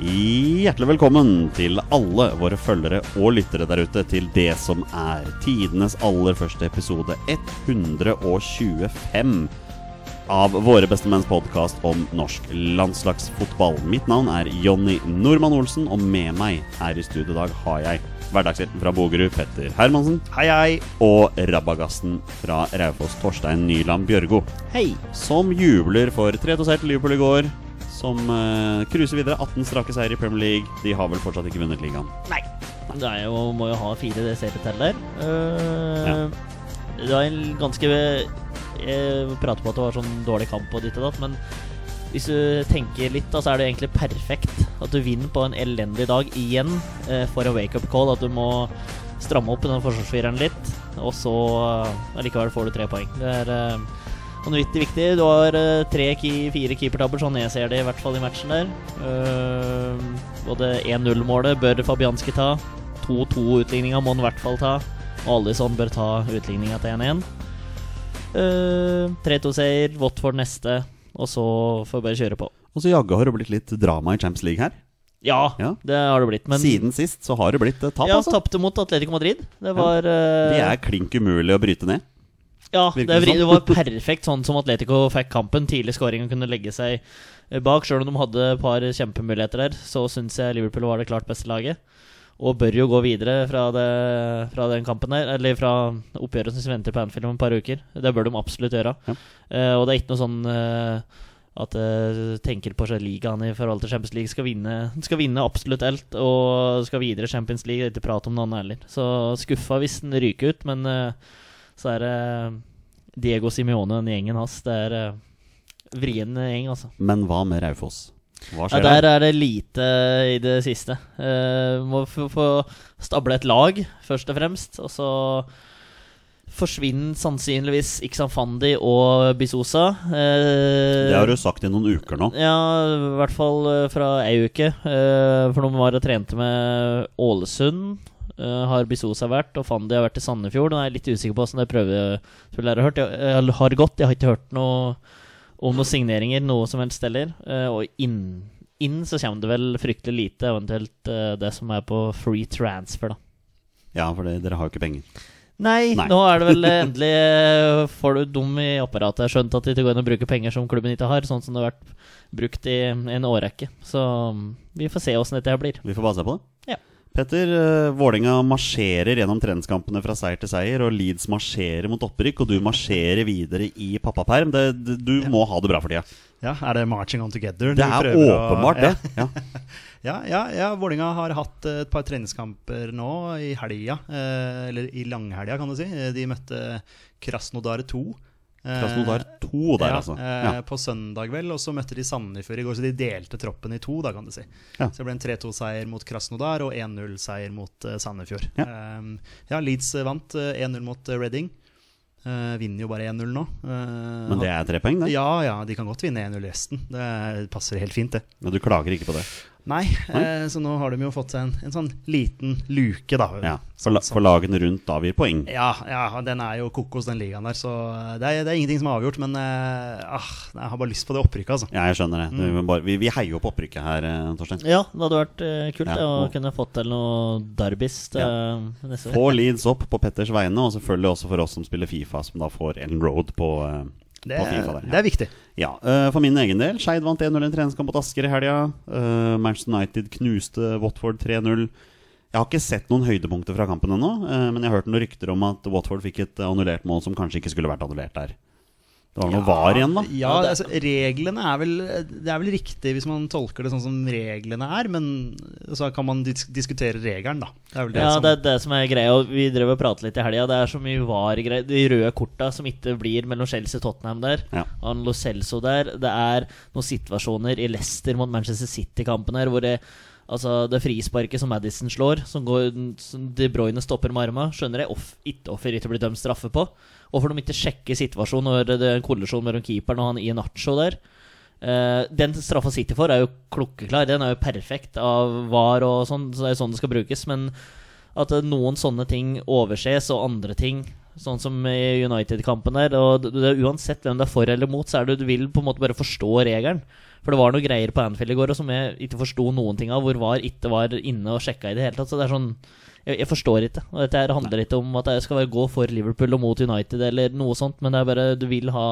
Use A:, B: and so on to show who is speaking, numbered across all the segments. A: Hjertelig velkommen til alle våre følgere og lyttere der ute til det som er tidenes aller første episode 125 av Våre bestemenns podkast om norsk landslagsfotball. Mitt navn er Jonny Normann Olsen, og med meg her i studio i dag har jeg hverdagshelten fra Bogerud, Petter Hermansen,
B: Hei, hei.
A: og rabagassen fra Raufoss, Torstein Nyland Bjørgo.
B: Hei.
A: Som jubler for 3-2 seier til Liverpool i går. Som eh, cruiser videre. 18 strake seier i Premier League. De har vel fortsatt ikke vunnet ligaen.
B: Nei. Det er jo, må jo ha fire DCP-tall der. Eh,
A: Ja.
B: Det var en ganske Jeg prater på at det var sånn dårlig kamp og ditt og datt, men hvis du tenker litt, da, så er det egentlig perfekt at du vinner på en elendig dag igjen eh, for en wake-up call. At du må stramme opp i den forsvarsfireren litt, og så eh, allikevel får du tre poeng. Det er eh, vanvittig viktig. Du har eh, tre key, fire keepertabber, sånn jeg ser det, i hvert fall i matchen der. Eh, både 1-0-målet bør Fabianski ta. 2-2-utligninga må han i hvert fall ta. Og Alison bør ta utligninga til 1-1. Eh, 3-2-seier, Watford neste, og så får vi bare kjøre på.
A: Og så jaggu har det blitt litt drama i Champions League her.
B: Ja,
A: Ja.
B: det har det blitt. Men
A: Siden sist så har det blitt eh, tap,
B: ja,
A: altså.
B: tapte mot Atletico Madrid. Det var eh,
A: De er klink umulig å bryte ned.
B: Ja, det,
A: Virker
B: er
A: det
B: vri-
A: sånn?
B: det var perfekt sånn som Atletico fikk kampen. Tidlig scoring og kunne legge seg eh, bak. Selv om de hadde et par kjempemuligheter der, så syns jeg Liverpool var det klart beste laget. Og bør jo gå videre fra, det, fra den kampen der, eller fra oppgjøret som venter på Anfield om et par uker. Det bør de absolutt gjøre.
A: Ja.
B: Eh, og det er ikke noe sånn eh, at jeg tenker på seg ligaen i forhold til Champions League. Skal vinne, skal vinne absolutt alt og skal videre i Champions League. Det er Ikke prat om noe annet heller. Så skuffa hvis den ryker ut, men eh, så er det Diego Simione og den gjengen hans. Det er eh, vrien gjeng, altså.
A: Men hva med Raufoss? Hva
B: Ja,
A: skjer
B: der
A: der?
B: er det lite i det siste. Eh, må få, få stable et lag, først og fremst. Og så forsvinner sannsynligvis Iksan Fandi og Bisosa.
A: Det
B: Eh,
A: har du sagt i noen uker nå.
B: ja, i hvert fall eh, fra ei uke. eh, For de var og trente med Ålesund. eh, Har Bisosa vært, og Fandi har vært i Sandefjord. Og jeg er litt usikker på åssen det prøvespillet har hørt. Jeg, jeg har gått, jeg har ikke hørt noe om noen signeringer noe som helst heller. Eh, Og inn, inn så kommer det vel fryktelig lite, eventuelt eh, det som er på free transfer, da.
A: Ja, for det, dere har jo ikke penger.
B: Nei,
A: Nei.
B: nå er det vel endelig eh, Får du dum i apparatet. Jeg har skjønt at de ikke går inn og bruker penger som klubben ikke har, sånn som det har vært brukt i en årrekke. Så mm, vi får se åssen dette her blir.
A: Vi får bare se på det.
B: Ja.
A: Petter, eh, Vålinga marsjerer gjennom treningskampene fra seier til seier, og Leeds marsjerer mot opprykk, og du marsjerer videre i pappaperm. Det, det, du må ha det bra for tida.
C: Ja, Er det 'Marching On Together'?
A: Det
C: de
A: er
C: prøver å-
A: åpenbart,
C: ja.
A: det. Ja.
C: Ja, ja, ja, Vålinga har hatt eh, et par treningskamper nå i helga. eh, Eller i langhelga, kan du si. Eh, De møtte Krasnodar 2. eh,
A: Krasnodar 2 der,
C: ja,
A: altså.
C: eh,
A: Ja.
C: På søndag, vel. Og så møtte de Sandefjord i går, så de delte troppen i to, da, kan du si.
A: Ja.
C: Så det ble en 3-2-seier mot Krasnodar og 1-0-seier mot eh, Sandefjord.
A: Ja.
C: Eh, ja, Leeds eh, vant eh, 1-0 mot eh, Reading. Eh, vinner jo bare 1-0 nå. Eh,
A: Men det er tre poeng, det.
C: Ja, ja, de kan godt vinne 1-0 i resten. Det passer helt fint, det.
A: Men du klager ikke på det.
C: Nei, Eh, så nå har de jo fått seg en, en sånn liten luke, da.
A: Ja. For,
C: Sånn-
A: la,
C: sånn.
A: for lagene rundt avgir poeng.
C: ja, ja, den er jo kokos, den ligaen der. Så eh, det er, det er ingenting som er avgjort. Men eh, ah, jeg har bare lyst på det opprykket, altså.
A: Ja, jeg skjønner det. Vi, må bare, vi, vi heier jo på opprykket her, eh, Torstein.
B: Ja, det hadde vært eh, kult
A: Ja,
B: det, å
A: og-
B: kunne fått til noe derbys til eh, neste år.
A: Få Leeds opp på Petters vegne, og selvfølgelig også for oss som spiller Fifa, som da får Ellen Road på, eh,
C: Det,
A: på Fifa. Der.
C: det er viktig.
A: Ja, eh, for min egen del. Skeid vant 1-0 i en treningskamp mot Asker i helga. Eh, Manchester United knuste Watford 3-0. Jeg har ikke sett noen høydepunkter fra kampen ennå, eh, men jeg har hørt noen rykter om at Watford fikk et eh, annullert mål som kanskje ikke skulle vært annullert der. Det var noe var igjen, da.
C: Ja, altså, reglene er vel Det er vel riktig hvis man tolker det sånn som reglene er, men så kan man dis diskutere regelen, da. Det er vel det
B: Ja,
C: som
B: det er det som er greia. og Vi drev og pratet litt i helga. Det er så mye var-greier. De røde korta som ikke blir mellom Chelsea og Tottenham der.
A: Ja.
B: Han Lo Celso der. Det er noen situasjoner i Leicester mot Manchester City-kampen her hvor det Altså det frisparket som Madison slår, som, går, som De Bruyne stopper med arma, skjønner jeg off, ikke offer ikke blir dømt straffe på. Hvorfor de ikke sjekker situasjonen når det er en kollisjon mellom keeperen og han i Nacho der. Eh, den straffa City får, er jo klokkeklar. Den er jo perfekt av VAR og sånn, så det er jo sånn det skal brukes. Men at eh, noen sånne ting overses, og andre ting Sånn som i United-kampen der. Og det, det, uansett hvem det er for eller mot, så er det du vil på en måte bare forstå regelen. For det var noe greier på Anfield i går og som jeg ikke forsto noen ting av, hvor VAR ikke var inne og sjekka i det hele tatt. Så det er sånn Jeg, jeg forstår ikke. Og dette her handler ikke om at jeg skal være gå for Liverpool og mot United eller noe sånt, men det er bare du vil ha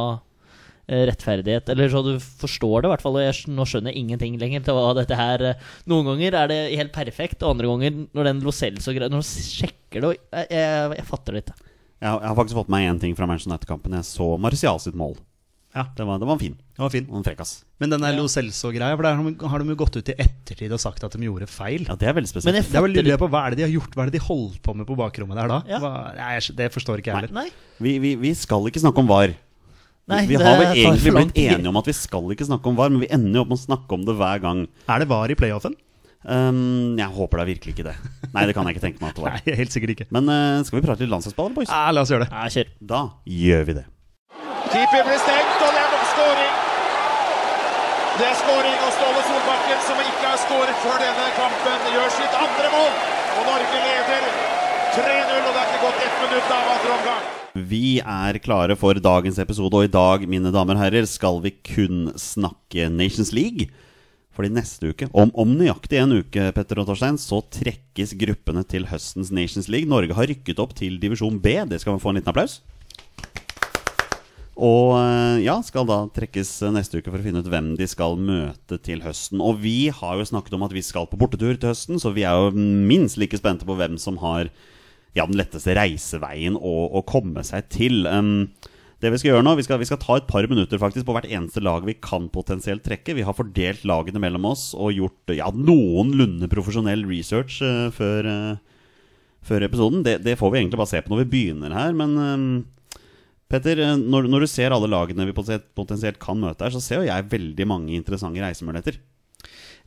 B: eh, rettferdighet, eller så du forstår det i hvert fall. Og jeg, skj- nå skjønner jeg ingenting lenger til hva dette her eh, Noen ganger er det helt perfekt, og andre ganger, når den Locelso greier Når du sjekker det og jeg, jeg, jeg fatter det ikke.
A: Jeg, har- jeg har faktisk fått med meg én ting fra Manchester United-kampen. Jeg så Martial sitt mål.
C: Ja.
A: Det var, det var en fin.
C: Det var fin.
A: Og en frekkas.
C: Men den der
B: Ja.
C: Lo Celso-greia, for der har de- har de jo gått ut i ettertid og sagt at de gjorde feil.
A: Ja, det er veldig spesielt.
B: Men jeg
C: Det er vel
B: fatter
C: lurer jeg på, Hva er det de har gjort? Hva er det de holdt på med på bakrommet der da?
B: Ja.
C: Hva, nei, jeg- det forstår ikke jeg heller.
B: Nei.
A: Vi, vi, vi skal ikke snakke om VAR. Vi-
B: Nei,
A: vi
B: det
A: har vel
B: tar for
A: egentlig
B: lang
A: blitt
B: tid.
A: enige om at vi skal ikke snakke om VAR, men vi ender jo opp med å snakke om det hver gang.
C: Er det VAR i playoffen?
A: Ehm, jeg håper da virkelig ikke det. Nei, det kan jeg ikke tenke meg at det var.
C: Nei, helt sikkert ikke.
A: Men eh, skal vi prate litt landslagsball, boys?
C: Ja, la oss gjøre det.
B: Nei, kjør.
A: Da gjør vi det.
D: Keeper blir stengt, og det er skåring. Det er skåring, og Ståle Solbakken, som ikke har skåret før denne kampen, gjør sitt andre mål. Og Norge leder 3-0, og det er ikke gått ett minutt av andre omgang.
A: Vi er klare for dagens episode, og i dag, mine damer og herrer, skal vi kun snakke Nations League. Fordi neste uke, om, om nøyaktig en uke, Petter og Torstein, så trekkes gruppene til høstens Nations League. Norge har rykket opp til divisjon B. Det skal vi få en liten applaus. Og eh, ja, skal da trekkes eh, neste uke for å finne ut hvem de skal møte til høsten. Og vi har jo snakket om at vi skal på bortetur til høsten, så vi er jo minst like spente på hvem som har ja, den letteste reiseveien å, å komme seg til. Um, det Vi skal gjøre nå, vi skal, vi skal ta et par minutter faktisk på hvert eneste lag vi kan potensielt trekke. Vi har fordelt lagene mellom oss og gjort ja, noenlunde profesjonell research eh, før, eh, før episoden. Det, det får vi egentlig bare se på når vi begynner her, men ehm, Petter, eh, når, når du ser alle lagene vi potensielt, potensielt kan møte her, så ser jo jeg veldig mange interessante reisemuligheter.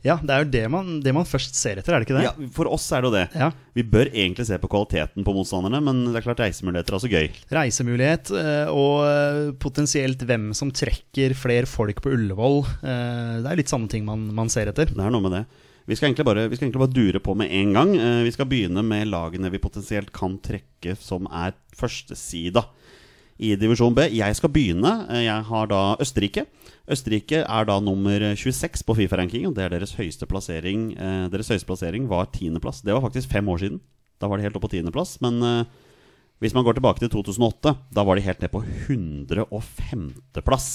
C: Ja, det er jo det man, det man først ser etter, er det ikke det?
A: Ja, for oss er det jo det.
C: Ja.
A: Vi bør egentlig se på kvaliteten på motstanderne, men det er klart reisemuligheter er også gøy.
C: Reisemulighet eh, og eh, potensielt hvem som trekker flere folk på Ullevål. Eh, Det er litt samme ting man, man ser etter.
A: Det er noe med det. Vi skal egentlig bare, vi skal egentlig bare dure på med en gang. Eh, Vi skal begynne med lagene vi potensielt kan trekke som er førstesida i divisjon B. Jeg skal begynne. Eh, Jeg har da Østerrike. Østerrike er da nummer 26 på Fifa-rankingen. Det er deres høyeste plassering. Eh, Deres høyeste plassering var tiendeplass. Det var faktisk fem år siden. Da var de helt oppe på tiendeplass. Men eh, hvis man går tilbake til 2008, da var de helt ned på 105.-plass.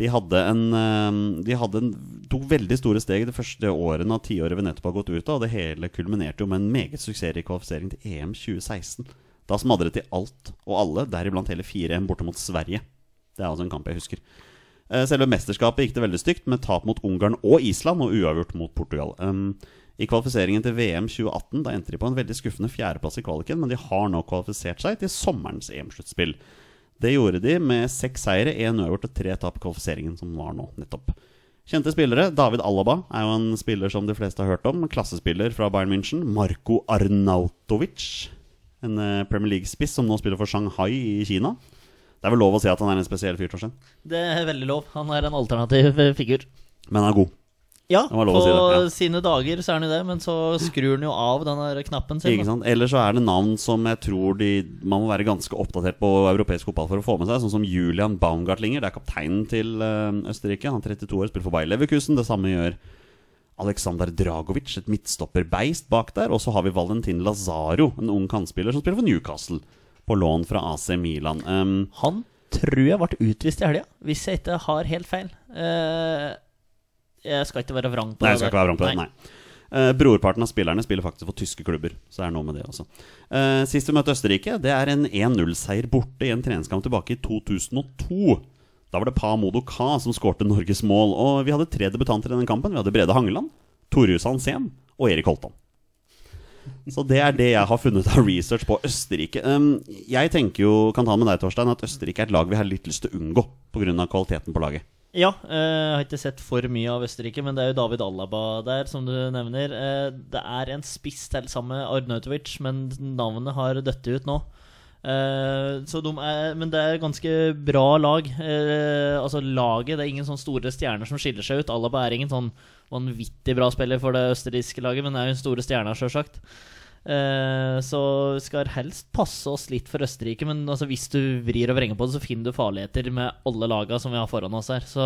A: De hadde, en, eh, de hadde en, tok veldig store steg de første årene av tiåret vi nettopp har gått ut av. Og det hele kulminerte jo med en meget suksessrik kvalifisering til EM 2016. Da smadret de alt og alle, deriblant hele 4-1 borte mot Sverige. Det er altså en kamp jeg husker. Eh, Selve mesterskapet gikk det veldig stygt, med tap mot Ungarn og Island og uavgjort mot Portugal. Um, I kvalifiseringen til VM 2018 da endte de på en veldig skuffende fjerdeplass i kvaliken, men de har nå kvalifisert seg til sommerens EM-sluttspill. Det gjorde de med seks seire, én uavgjort og tre tap i kvalifiseringen, som var nå nettopp. Kjente spillere. David Alaba er jo en spiller som de fleste har hørt om. Klassespiller fra Bayern München. Marko Arnautovic. En eh, Premier League-spiss som nå spiller for Shanghai i Kina. Det er vel lov å si at han er en spesiell fyr, Torstein.
B: Det er veldig lov. Han er en alternativ eh, figur.
A: Men han er god.
B: Ja,
A: var lov
B: på
A: å si det, ja.
B: sine dager så er han jo det, men så skrur han jo av den der knappen sin.
A: Ikke
B: da.
A: sant? Eller så er det navn som jeg tror de, man må være ganske oppdatert på europeisk fotball for å få med seg. Sånn som Julian Baumgartlinger. Det er kapteinen til eh, Østerrike. Han er 32 år, spiller for Bayer Leverkusen. Det samme gjør Aleksandr Dragovic, et midtstopperbeist bak der. Og så har vi Valentin Lazaro, en ung kantspiller som spiller for Newcastle. På lån fra AC Milan. Um,
B: Han tror jeg ble utvist i helga, hvis jeg ikke har helt feil. Eh, jeg skal ikke være vrang på
A: Nei, jeg
B: det
A: skal
B: der.
A: ikke være vrang på det. Nei. Eh, brorparten av spillerne spiller faktisk for tyske klubber, så det er noe med det også. Eh, sist vi møtte Østerrike, det er en 1-0-seier borte i en treningskamp tilbake i 2002. Da var det Pa Modo Ka som skårte Norges mål, og vi hadde tre debutanter i den kampen. Vi hadde Brede Hangeland, Torjus Hansen og Erik Holtan. Så det er det jeg har funnet av research på Østerrike. Um, jeg tenker jo, kan ta med deg, Torstein, at Østerrike er et lag vi har litt lyst til å unngå pga. kvaliteten på laget.
B: Ja, eh, jeg har ikke sett for mye av Østerrike, men det er jo David Alaba der, som du nevner. Eh, det er en spiss til sammen med Arnautovic, men navnet har døtt ut nå. Eh, så de er, men det er ganske bra lag. Eh, altså laget, Det er ingen sånne store stjerner som skiller seg ut. Alaba er ingen sånn vanvittig bra spiller for det østerrikske laget, men er jo den store stjerna, sjølsagt. Eh, Så vi skal helst passe oss litt for Østerrike, men altså, hvis du vrir og vrenger på det, så finner du farligheter med alle laga som vi har foran oss her. Så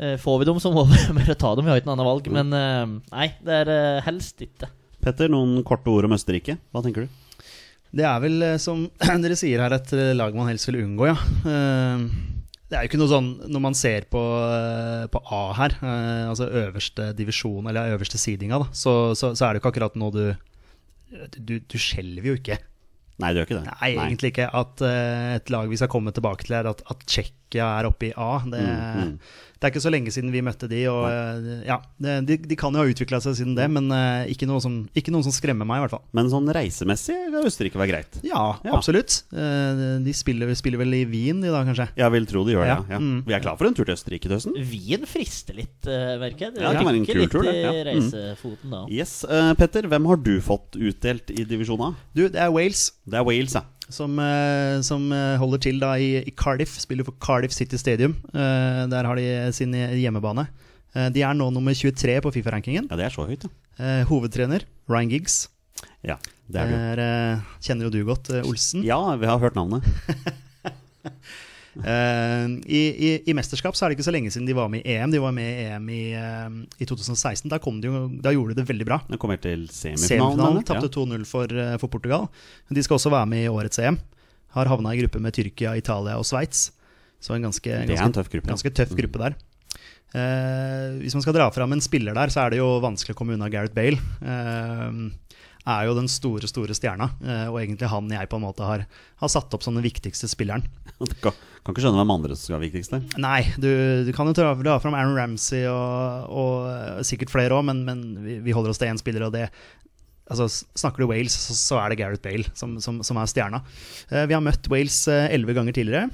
B: eh, får vi dem, så må vi bare ta dem. Vi har ikke noe annet valg. Men eh, nei, det er eh, helst ikke.
A: Petter, noen korte ord om Østerrike. Hva tenker du?
C: Det er vel, eh, som dere sier her, et eh, lag man helst vil unngå, ja. Eh, Det er jo ikke noe sånn når man ser på, eh, på A her, eh, altså øverste divisjon, eller øverste sidinga, da, så, så, så er det jo ikke akkurat noe du Du, du skjelver jo ikke.
A: Nei, det gjør ikke det.
C: Nei, egentlig ikke. At eh, et lag vi skal komme tilbake til, er at, at Tsjekkia er oppe i A. Det,
A: Mm,
C: det er ikke så lenge siden vi møtte de, og eh, ja, det, de, de kan jo ha utvikla seg siden det,
A: Mm.
C: men eh, ikke, noe som, ikke noe som skremmer meg, i hvert fall.
A: Men sånn reisemessig kan Østerrike være greit.
C: Ja,
A: Ja.
C: absolutt. Eh, De spiller, spiller vel i Wien i dag, kanskje.
A: Jeg vil tro de gjør det.
C: Ja,
A: Ja. Ja.
C: mm.
A: Vi er klar for en tur til Østerrike til høsten.
B: Wien frister litt, eh, merker jeg.
A: Ja, det kan være en
B: rykker
A: kul
B: litt
A: tur, det.
B: i
A: Ja. Mm.
B: reisefoten da.
A: Yes, eh, Petter, hvem har du fått utdelt i divisjon A?
C: Du, det er Wales
A: Det er Wales, ja.
C: som, eh, som eh, holder til da i, i Cardiff. Spiller for Cardiff City Stadium. Eh, Der har de sin hjemmebane. Eh, De er nå nummer 23 på Fifa-rankingen.
A: Ja, det er så høyt, ja.
C: Eh, Hovedtrener Ryan Giggs.
A: Ja, det er det.
C: Er, eh, kjenner jo du godt, eh, Olsen.
A: Ja, vi har hørt navnet.
C: Eh, i, i, I mesterskap så er det ikke så lenge siden de var med i EM. De var med i EM i, eh, i 2016. Da, kom de, jo- da gjorde de det veldig bra.
A: Den kom helt til semifinalen.
C: Semifinalen tapte 2-0 for, eh, for Portugal. De skal også være med i årets EM. Har havna i gruppe med Tyrkia, Italia og Sveits. Så en ganske,
A: ja. Det er en
C: ganske,
A: tøff gruppe. Mm.
C: ganske tøff gruppe der. Eh, hvis man skal dra fram en spiller der, så er det jo vanskelig å komme unna Gareth Bale. Eh, er jo den store, store stjerna, eh, og egentlig han jeg på en måte har, har satt opp som den viktigste spilleren.
A: Kan, kan ikke skjønne hvem andre som skal være viktigst der.
C: Nei, du, du kan jo dra, dra fram Aaron Ramsey og, og sikkert flere òg, men, men vi, vi holder oss til én spiller, og det Altså, s- Snakker du Wales, så, så er det Gareth Bale som, som, som er stjerna. Eh, vi har møtt Wales elleve ganger tidligere.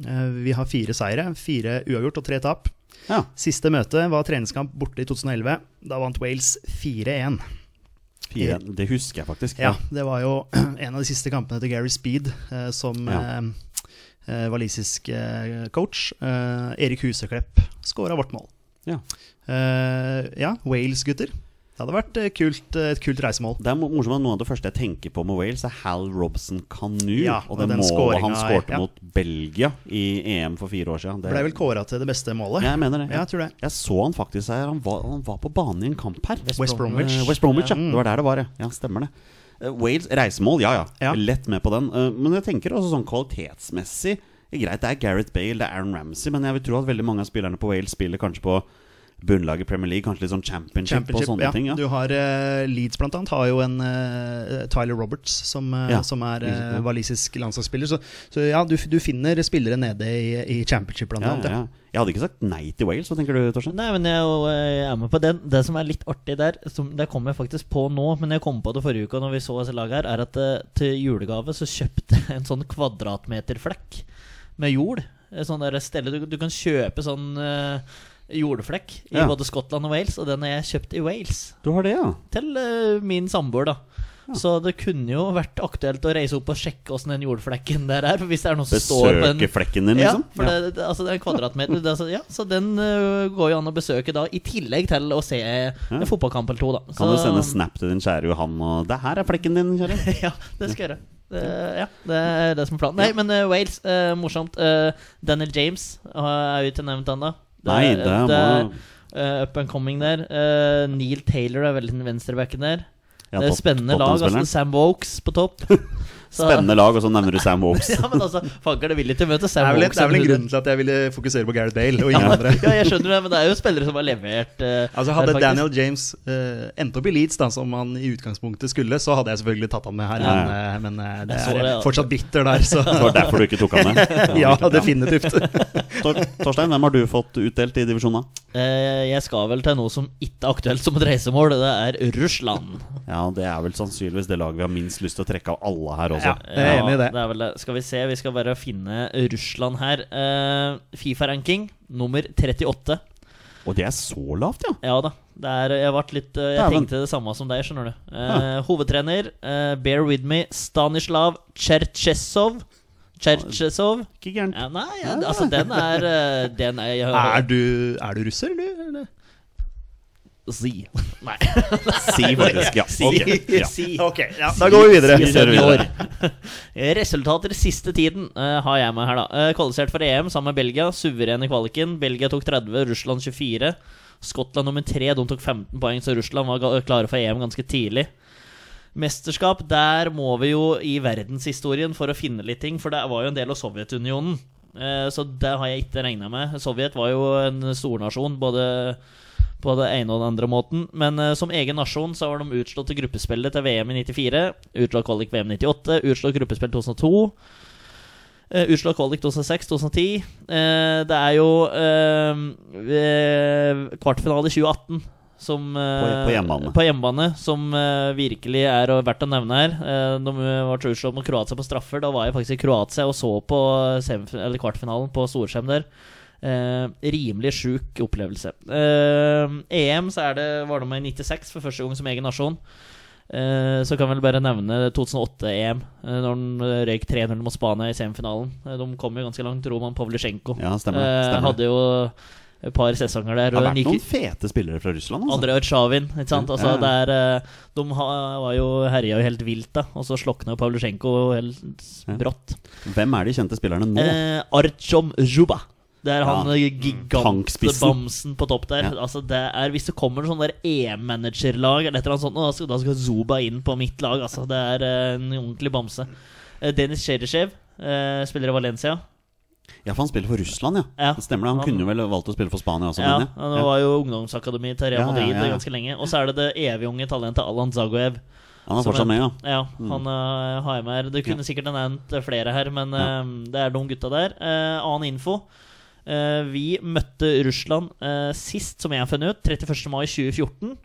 C: Eh, vi har fire seire, fire uavgjort og tre tap.
A: Ja.
C: Siste møte var treningskamp borte i 2011. Da vant Wales 4-1.
A: Fire, det husker jeg faktisk.
C: Ja, det var jo en av de siste kampene til Gary Speed eh, som
A: Ja.
C: eh, eh, walisisk eh, coach. Eh, Erik Huseklepp skåra vårt mål.
A: Ja.
C: Eh, ja, Wales, gutter. Det hadde vært eh, kult, eh, et kult reisemål.
A: Det er mo- morsomt at Noe av det første jeg tenker på med Wales, er Hal Robson Kanu.
C: Ja,
A: og
C: og
A: det
C: den
A: målet han
C: skåringa er-
A: skårte
C: ja.
A: mot Belgia i EM for fire år siden. Det-
C: Ble vel kåra til det beste målet.
A: Ja, jeg mener det.
C: Ja, jeg tror det.
A: Jeg så han faktisk her. Han var, han var på banen i en kamp her.
C: West Bromwich.
A: Eh, West Bromwich, ja.
C: Mm.
A: Det var der det var, ja. ja stemmer det. Eh, Wales reisemål, ja, ja
C: Ja.
A: Lett med på den. Eh, men jeg tenker også sånn kvalitetsmessig eh, Greit, det er Gareth Bale, det er Aaron Ramsey, men jeg vil tro at veldig mange av spillerne på Wales spiller kanskje på bunnlaget Premier League, kanskje litt sånn championship, og sånne
C: ja.
A: ting. Ja.
C: Du har eh, Leeds blant annet, har jo en eh, Tyler Roberts som, eh,
A: Ja.
C: som er eh,
A: Ja.
C: walisisk landslagsspiller. Så, så ja, du, du finner spillere nede i, i championship blant
A: Ja,
C: annet.
A: ja,
C: Ja.
A: ja. Jeg hadde ikke sagt nei til Wales, hva tenker du, Torstein?
B: Nei, men jeg og, eh, er med på den. Det som er litt artig der, som det kom jeg faktisk på nå, men jeg kom på det forrige uka når vi så disse lagene her, er at eh, til julegave så kjøpte jeg en sånn kvadratmeterflekk med jord. Et sånn der stelle du, du kan kjøpe sånn eh, jordflekk i
A: Ja.
B: både Skottland og Wales, og den har jeg kjøpt i Wales.
A: Du har det, ja.
B: Til eh, min samboer, da. Så det kunne jo vært aktuelt å reise opp og sjekke åssen den jordflekken der er. Hvis det er noe som står på en
A: Besøke flekken din, liksom?
B: ja, for Det, det, altså det er en kvadratmeter. Det, er altså, ja, så den ø, går jo an å besøke da, i tillegg til å se en fotballkamp eller to, da.
A: Kan du
B: Så-
A: sende snap til din kjære Johan og 'Det her er flekken din, kjære'.
B: Ja, det skal jeg gjøre. Det, ja, det er det som er planen. Nei, men ø, Wales, ø, morsomt. Ø, Daniel James ø, er jo ikke nevnt ennå.
A: Nei, det må
B: ø, eh, up and coming der. Ø, Neil Taylor er veldig den venstrebacken der.
A: Ja,
B: det er
A: Tot-
B: spennende lag.
A: Tottenham-spilleren.
B: Altså Sam Wokes på topp. Så-
A: Spennende lag, og så nevner du Sam Wokes.
B: Ja, men altså, fanker det vil ikke møte
C: Det
B: Sam
C: er, vel,
B: Wokes.
C: det er vel en
B: eller-
C: grunn til at jeg ville fokusere på Gareth Bale og ingen andre.
B: Ja, jeg skjønner det, men det er jo spillere som har levert. eh,
C: Altså Hadde
B: der, faktisk.
C: Daniel James eh, endt opp i Leeds, da, som han i utgangspunktet skulle, så hadde jeg selvfølgelig tatt han med her, men, eh, men eh, det
B: Jeg så
C: er
B: det, ja.
C: fortsatt bitter der, så
A: Det var derfor du ikke tok han med.
C: Ja, definitivt.
A: Tor Torstein, hvem har du fått utdelt i divisjonen? A?
B: Eh, jeg skal vel til noe som ikke er aktuelt som et reisemål. Det er Russland.
A: Ja, det er vel sannsynligvis det laget vi har minst lyst til å trekke av alle her også.
C: Ja, jeg er enig i det.
B: det er vel det. Skal vi se, vi skal bare finne Russland her. Eh, Fifa-ranking nummer 38.
A: Og det er så lavt, ja!
B: Ja da. Det er, jeg ble litt, eh, jeg
A: Dæven.
B: tenkte det samme som deg, skjønner du. Eh, hovedtrener, eh, bear with me, Stanislav Tsjertsjesov. Tsjertsjesov.
A: Ikke gærent.
B: Ja, nei, ja, altså den er, eh, den er jeg,
C: Er du, er du russer, du? Eller?
B: Si. Nei.
A: Si faktisk, ja.
B: Si.
A: Ok, ja.
B: si.
C: Ok, ja,
A: Da går vi videre.
B: Si
A: Kjører videre.
B: senior. Resultater siste tiden eh, har jeg med her, da. Eh, kvalifisert for EM sammen med Belgia. Suveren i kvaliken. Belgia tok 30, Russland 24. Skottland nummer 3. De tok 15 poeng, så Russland var ga- klare for EM ganske tidlig. Mesterskap, der må vi jo i verdenshistorien for å finne litt ting, for det var jo en del av Sovjetunionen. Eh, Så det har jeg ikke regna med. Sovjet var jo en stornasjon både på det ene og den andre måten. Men eh, som egen nasjon så var de utslått i gruppespillet til VM i 94. Utslått kvalik VM 98. Utslått gruppespill 2002. Eh, utslag kvalik 2006-2010. Eh, det er jo eh, eh, kvartfinale i 2018 som eh,
A: På- på hjemmebane.
B: på hjemmebane, som eh, virkelig er og verdt å nevne her. Eh, de ble utslått mot Kroatia på straffer. Da var jeg faktisk i Kroatia og så på semif- eller kvartfinalen på storskjerm der. Eh, rimelig sjuk opplevelse. Eh, EM så er det, var de med i 96 for første gang som egen nasjon. Eh, Så kan jeg vel bare nevne 2008-EM, E eh, når den røyk 3-0 mot Spania i semifinalen. Eh, De kom jo ganske langt, Roman Pavlysenko.
A: Ja, stemmer.
B: Eh,
A: stemmer.
B: Hadde jo et par sesonger der.
A: det har
B: og
A: vært
B: gikk-
A: noen fete spillere fra Russland. Altså.
B: Andrej Otsjavin, ikke sant. Altså,
A: Ja, ja.
B: det er, eh, de ha- var jo herja jo helt vilt, da. Og så slokna jo Pavlysenko helt
A: Ja.
B: brått.
A: Hvem er de kjente spillerne nå?
B: Eh, Artjom Zhuba. Det er han
A: Ja.
B: eh,
A: Tankspissen.
B: gigantbamsen på topp der.
A: Ja.
B: Altså det er, hvis det kommer sånn der EM-managerlag eller et eller annet sånt, nå, da skal, da skal Zuba inn på mitt lag. Altså, det er eh, en ordentlig bamse. Eh, Denis Cherishev eh, spiller i Valencia.
A: Ja, for han spiller for Russland, ja.
B: Ja.
A: Det stemmer det. Han,
B: Han-
A: kunne vel valgt å spille for Spania også,
B: ja,
A: mener jeg.
B: Han var jo ungdomsakademi
A: Ja,
B: til Real
A: ja,
B: Madrid
A: ja, ja.
B: ganske lenge. Og så er det det evig unge talentet Alan Zagoev.
A: Han er
B: som
A: fortsatt med, ja.
B: Ja,
A: Mm.
B: han eh, har jeg med her. Det kunne sikkert ha nevnt eh, flere her, men
A: Ja.
B: eh, det er de gutta der. Eh, annen info. Eh, vi møtte Russland eh, sist, som jeg har funnet ut, 31. mai 2014.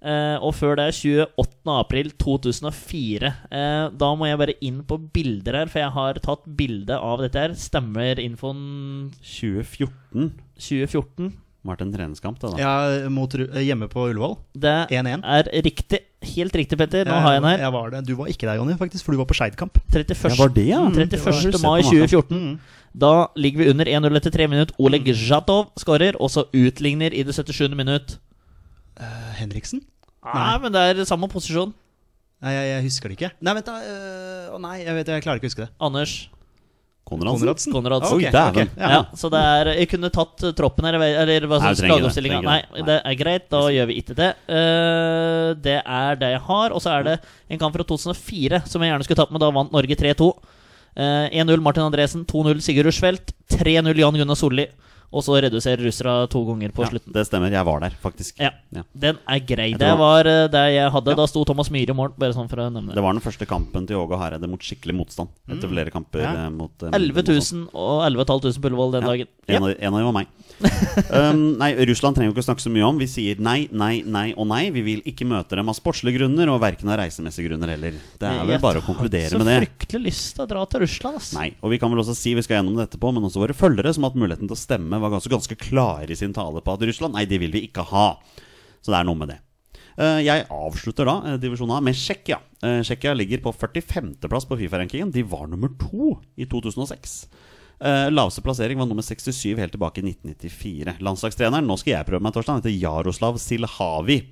B: Eh, og før det 28. april 2004. Eh, da må jeg bare inn på bilder her, for jeg har tatt bilde av dette her. Stemmer infoen
A: 2014
B: 2014?
A: var det en treningskamp, det da.
C: Ja, mot, Ru- eh, hjemme på Ullevål.
B: Det
C: 1-1.
B: er riktig. Helt riktig, Petter. Nå har jeg den her.
C: Eh, Jeg var det. Du var ikke der, Jonny, faktisk, for du var på Skeidkamp.
B: 31.
A: Ja, var det, ja?
B: Mm,
A: Det var-
B: 31.
A: Husker
B: mai
A: på Mm. maken.
B: 2014. Da ligger vi under 1-0 etter 3 minutter. Oleg Zjatov skårer, og så utligner i det 77. minutt.
C: Eh, Henriksen?
B: Nei, men det er samme posisjon.
C: Nei, jeg, jeg husker det ikke. Nei, vent, da. eh, Å nei, jeg, vet, jeg klarer ikke å huske det.
B: Anders
A: Konradsen.
B: Konradsen.
A: Oi,
C: Ok,
A: dæven.
C: ok,
B: Ja. så det er Jeg kunne tatt eh, troppen her, eller hva
A: Nei,
B: som
A: vi trenger det,
B: lagoppstillinga. Nei,
A: trenger det.
B: det er greit, da gjør vi ikke det. Eh, det er det jeg har. Og så er det en kamp fra 2004 som jeg gjerne skulle tatt med. Da vant Norge 3-2. Eh, 1-0 Martin Andresen, 2-0 Sigurd Rushfeldt, 3-0 Jan Gunnar Solli. Og så reduserer russerne to ganger på
A: Ja,
B: slutten.
A: det stemmer. Jeg var der, faktisk.
B: Ja.
A: Ja.
B: Den er grei.
A: Jeg
B: Det
A: tror-
B: var eh, det jeg hadde.
A: Ja.
B: Da sto Thomas Myhre i mål, bare sånn for å nevne
A: Det
B: det.
A: var den første kampen til Åge Hareide mot skikkelig motstand. Etter flere kamper
C: Ja.
A: eh, mot eh,
B: 11
A: motstand.
B: 000 og 11 500 på Ullevål den
A: Ja.
B: dagen.
A: En, av, en av dem var meg. Um, nei, Russland trenger jo ikke å snakke så mye om. Vi sier nei, nei, nei og nei. Vi vil ikke møte dem av sportslige grunner, og verken av reisemessige grunner heller. Det er vel bare å konkludere med det.
B: Så fryktelig lyst til å dra til Russland, ass.
A: Nei, og vi kan vel også si, vi skal gjennom det etterpå, men også våre følgere som har hatt muligheten til å stemme, var ganske, ganske klare i sin tale på at Russland, nei, det vil vi ikke ha. Så det er noe med det. Eh, Jeg avslutter da eh, divisjon A med Tsjekkia. Eh, Tsjekkia ligger på 45.-plass på Fifa-rankingen. De var nummer to i 2006. Eh, Laveste plassering var nummer 67 helt tilbake i 1994. Landslagstreneren, nå skal jeg prøve meg, Torstein, heter Jaroslav Silhavi.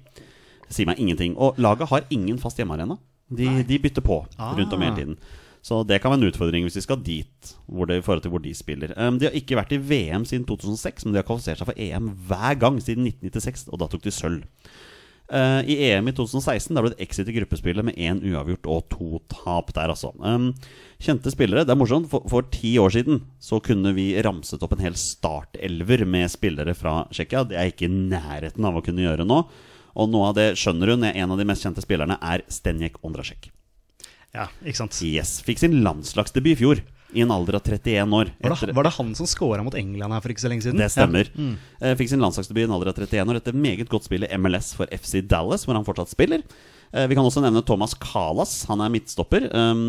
A: Sier meg ingenting. Og laget har ingen fast hjemmearena. De, de bytter på rundt om hele tiden. Så det kan være en utfordring hvis de skal dit, hvor det, i forhold til hvor de spiller. Um, de har ikke vært i VM siden 2006, men de har kvalifisert seg for EM hver gang siden 1996, og da tok de sølv. Eh, I EM i 2016 da ble det exit i gruppespillet med én uavgjort og to tap der, altså. Um, kjente spillere. Det er morsomt, for, for ti år siden så kunne vi ramset opp en hel startelver med spillere fra Tsjekkia. Det er jeg ikke i nærheten av å kunne gjøre nå. Og noe av det skjønner hun. En av de mest kjente spillerne er Stenjek Ondrasjek.
C: Ja, ikke sant.
A: Yes, Fikk sin landslagsdebut i fjor, i en alder av 31 år.
C: Var
A: Etter-
C: det, var det han som scora mot England her for ikke så lenge siden?
A: det stemmer.
B: Mm.
A: Eh, Fikk sin landslagsdebut i en alder av 31 år etter meget godt spill i MLS for FC Dallas, hvor han fortsatt spiller. Eh, Vi kan også nevne Thomas Kalas, han er midtstopper. Um,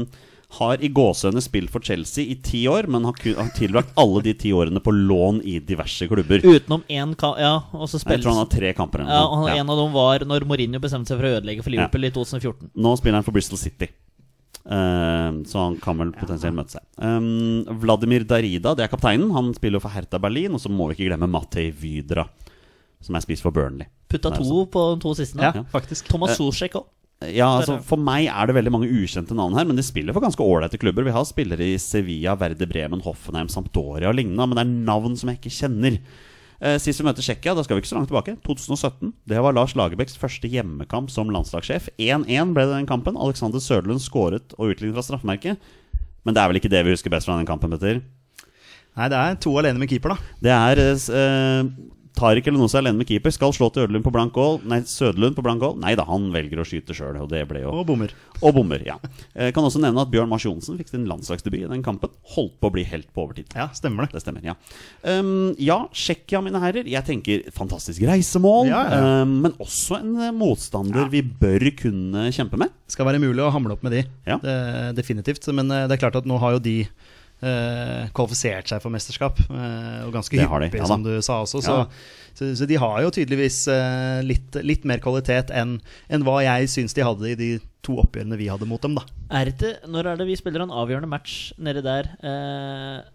A: har i gåsehøyne spilt for Chelsea i ti år, men har kun- har tilbrakt alle de ti årene på lån i diverse klubber.
B: Utenom én ka... Ja, og så
A: Jeg
B: spilles
A: tror han har tre kamper. eller
B: ja,
A: noe
B: og han,
A: sånt. Ja.
B: En av dem var når Mourinho bestemte seg for å ødelegge for Liverpool i 2014.
A: Nå spiller han for Bristol City. Ehm, så han kan vel potensielt møte seg. Ehm, Vladimir Darida, det er kapteinen. Han spiller jo for Hertha Berlin. Og så må vi ikke glemme Matej Vydra, som er spiss for Burnley.
B: Putta
A: Nei,
B: to
A: sant. Eh.
B: på de to siste.
C: Ja,
B: nå.
C: faktisk.
B: Thomas Solsjek òg.
A: Ja, altså For meg er det veldig mange ukjente navn her, men de spiller for ganske ålreite klubber. Vi har spillere i Sevilla, Verde Bremen, Hoffenheim, Sampdoria og lignende, men det er navn som jeg ikke kjenner. Eh, Sist vi møtte Tsjekkia, da skal vi ikke så langt tilbake, 2017. Det var Lars Lagerbäcks første hjemmekamp som landslagssjef. 1-1 ble det den kampen. Alexander Sørlund skåret og utlignet fra straffemerket. Men det er vel ikke det vi husker best fra den kampen, Petter?
C: Nei, det er to alene med keeper, da.
A: Det er eh, Tariq eller noe seg alene med keeper. Skal slå til Ødelund på blank goal. Nei, Søderlund på blank goal. Nei da, han velger å skyte sjøl, og det ble jo
C: Og bommer.
A: Og bommer, ja. Eh, kan også nevne at Bjørn Mars Johnsen fikk sin landslagsdebut i den kampen. Holdt på å bli helt på overtid.
C: Ja, stemmer det.
A: Det stemmer, ja. Um, ja, Tsjekkia, mine herrer. Jeg tenker fantastisk reisemål.
C: Ja, ja.
A: Um, men også en eh, motstander vi bør kunne kjempe med.
C: Skal være mulig å hamle opp med de,
A: Ja.
C: det, definitivt. Men eh, det er klart at nå har jo de eh, kvalifisert seg for mesterskap, eh, og ganske
A: Det har de,
C: hyppig,
A: ja da.
C: som du sa også. Så,
A: Ja.
C: så, så de har jo tydeligvis eh, litt, litt mer kvalitet enn enn hva jeg syns de hadde i de to oppgjørene vi hadde mot dem, da.
B: Er det, når er det vi spiller en avgjørende match nede der? Eh,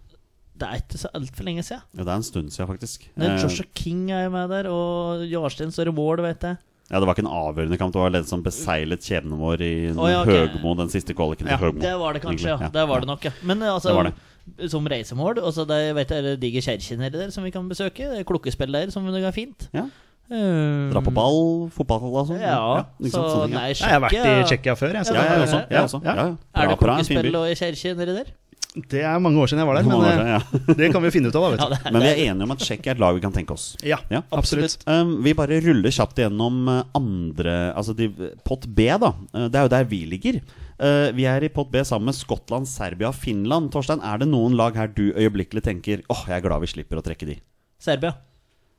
B: det er ikke så altfor lenge siden.
A: Ja, det er en stund siden, faktisk.
B: Men
A: Eh,
B: Joshua King er jo med der, og Jarstein står i mål, vet jeg.
A: ja, det var ikke en avgjørende kamp. Det var den som beseilet skjebnen vår i
B: Å, ja, ok.
A: Høgmo, den siste kvaliken. i
C: Ja,
A: Høgmo.
B: Det var det kanskje, ja.
A: Egentlig,
B: Det var det nok, ja. Men eh, altså,
A: Det var
B: som reisemål altså, det, jeg vet, er det digre kjerker nedi der som vi kan besøke. Det er klokkespill der som er fint.
A: Ja.
B: Eh,
A: Dra på ball, fotball og sånn.
B: Ja,
A: ikke
B: så
A: sant, sånne ting, ja.
B: nei,
C: Jeg har vært i
B: Tsjekkia-
C: Tsjekkia før, jeg. Så
A: Ja, jeg
B: Ja,
A: også.
B: ja,
A: Jeg også. Ja, ja.
B: Er det
A: Bra, bra, en fin by.
B: klokkespill og kjerker nedi der?
C: Det er mange år siden jeg var der,
A: Mange
C: men
A: år siden, ja.
C: eh, det kan vi jo finne ut av, da.
B: Ja,
C: vet
B: det er,
A: Men vi er enige om at Tsjekkia er et lag vi kan tenke oss.
C: du. Ja,
A: Ja.
C: absolutt.
A: Um, vi bare ruller kjapt gjennom eh, andre Altså de, pott B, da. Eh, Det er jo der vi ligger. Eh, vi er i pott B sammen med Skottland, Serbia og Finland. Torstein, er det noen lag her du øyeblikkelig tenker åh, jeg er glad vi slipper å trekke de?
B: Serbia.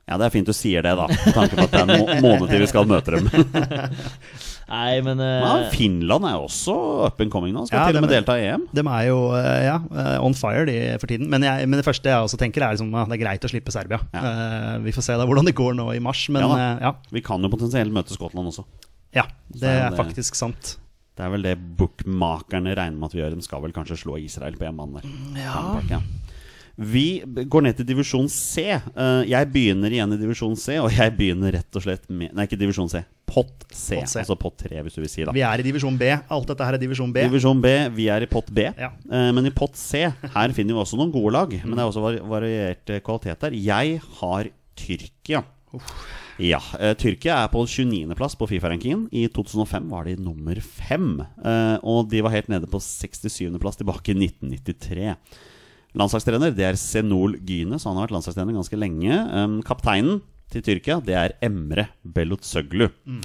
A: Ja, det er fint du sier det, da. Med tanke på at det er en må måned til vi skal møte dem.
B: Nei, men eh,
A: Ja, Finland er jo også up and coming nå. Skal
C: Ja,
A: til og med
C: dem er-
A: delta i EM.
C: De er jo eh, ja, eh, on fire de for tiden. Men, jeg, men det første jeg også tenker, er liksom, at det er greit å slippe Serbia. Eh, vi får se da hvordan det går nå i mars, men
A: Ja
C: ja.
A: da.
C: ja,
A: Vi kan jo potensielt møte Skottland også.
C: ja det
A: er
C: er
A: det-
C: faktisk sant.
A: Det er vel det bookmakerne regner med at vi gjør. De skal vel kanskje slå Israel på hjemmebane der. Hjemmepark, Ja. Vi b- går ned til divisjon C. Eh, Jeg begynner igjen i divisjon C, og jeg begynner rett og slett med Nei, ikke divisjon C. Pott C.
C: Pott C.
A: Altså pott 3, hvis du vil si det.
C: Vi er i divisjon B. Alt dette her er divisjon B.
A: Divisjon B, vi er i pott B.
C: Ja.
A: Eh, Men i pott C, her finner vi også noen gode lag. Men det er også var- variert eh, kvalitet der. Jeg har Tyrkia. Ja, eh, Tyrkia er på 29.-plass på Fifa-rankingen. I 2005 var de nummer fem. Eh, og de var helt nede på 67.-plass tilbake i 1993. Landslagstrener det er Senol Gyne, så han har vært landslagstrener ganske lenge. Um, kapteinen til Tyrkia det er Emre Belotsøglu.
C: Mm.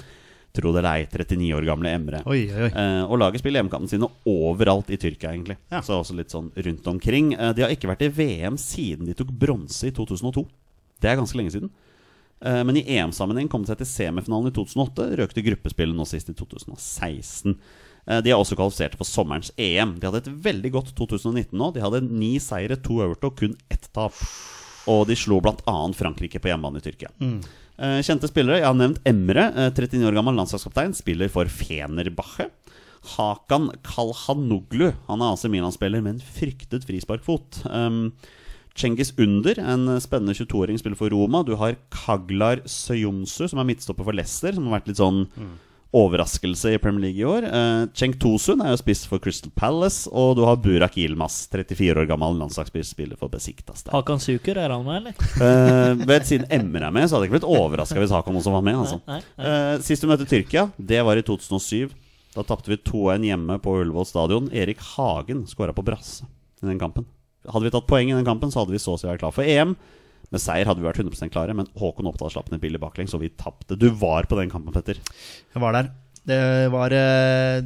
A: Tro det eller ei, 39 år gamle Emre.
C: Oi, oi, oi.
A: Eh, og laget spiller hjemmekampene sine overalt i Tyrkia, egentlig.
C: Ja.
A: Så også litt sånn rundt omkring. Eh, de har ikke vært i VM siden de tok bronse i 2002. Det er ganske lenge siden. Eh, men i EM-sammenheng kom de seg til semifinalen i 2008. Røk til gruppespillet nå sist i 2016. Eh, de er også kvalifiserte for sommerens EM. De hadde et veldig godt 2019 nå. De hadde ni seire, to øvert og kun ett tap. Og de slo bl.a. Frankrike på hjemmebane i Tyrkia. Eh, Kjente spillere. Jeg har nevnt Emre, eh, 39 år gammel landslagskaptein. Spiller for Fenerbache. Hakan Kalhanoglu. Han er AC Milan-spiller med en fryktet frisparkfot. Um, Cengiz Under, en spennende 22-åring, spiller for Roma. Du har Kaglar Søyonsu, som er midtstopper for Leicester, som har vært litt sånn overraskelse i Premier League i år. Eh, Cenk Tosun er jo spiss for Crystal Palace, og du har Burak Yilmaz, 34 år gammel landslagsspiller, spiller for Besiktas. der.
B: Hakan Suker, er han med, eller?
A: Eh, vet, siden Emre er med, så hadde jeg ikke blitt overraska hvis Hakan også var med. Altså.
B: Nei,
A: Eh, sist vi møtte Tyrkia, det var i 2007. Da tapte vi 2-1 hjemme på Ullevål stadion. Erik Hagen skåra på brasse i den kampen. Hadde vi tatt poeng i den kampen, så hadde vi så å si vært klar for EM. Med seier hadde vi vært 100 klare, men Håkon Oppdal slapp ned billig baklengs, og vi tapte. Du var på den kampen, Petter.
C: Jeg var der. Det var, eh,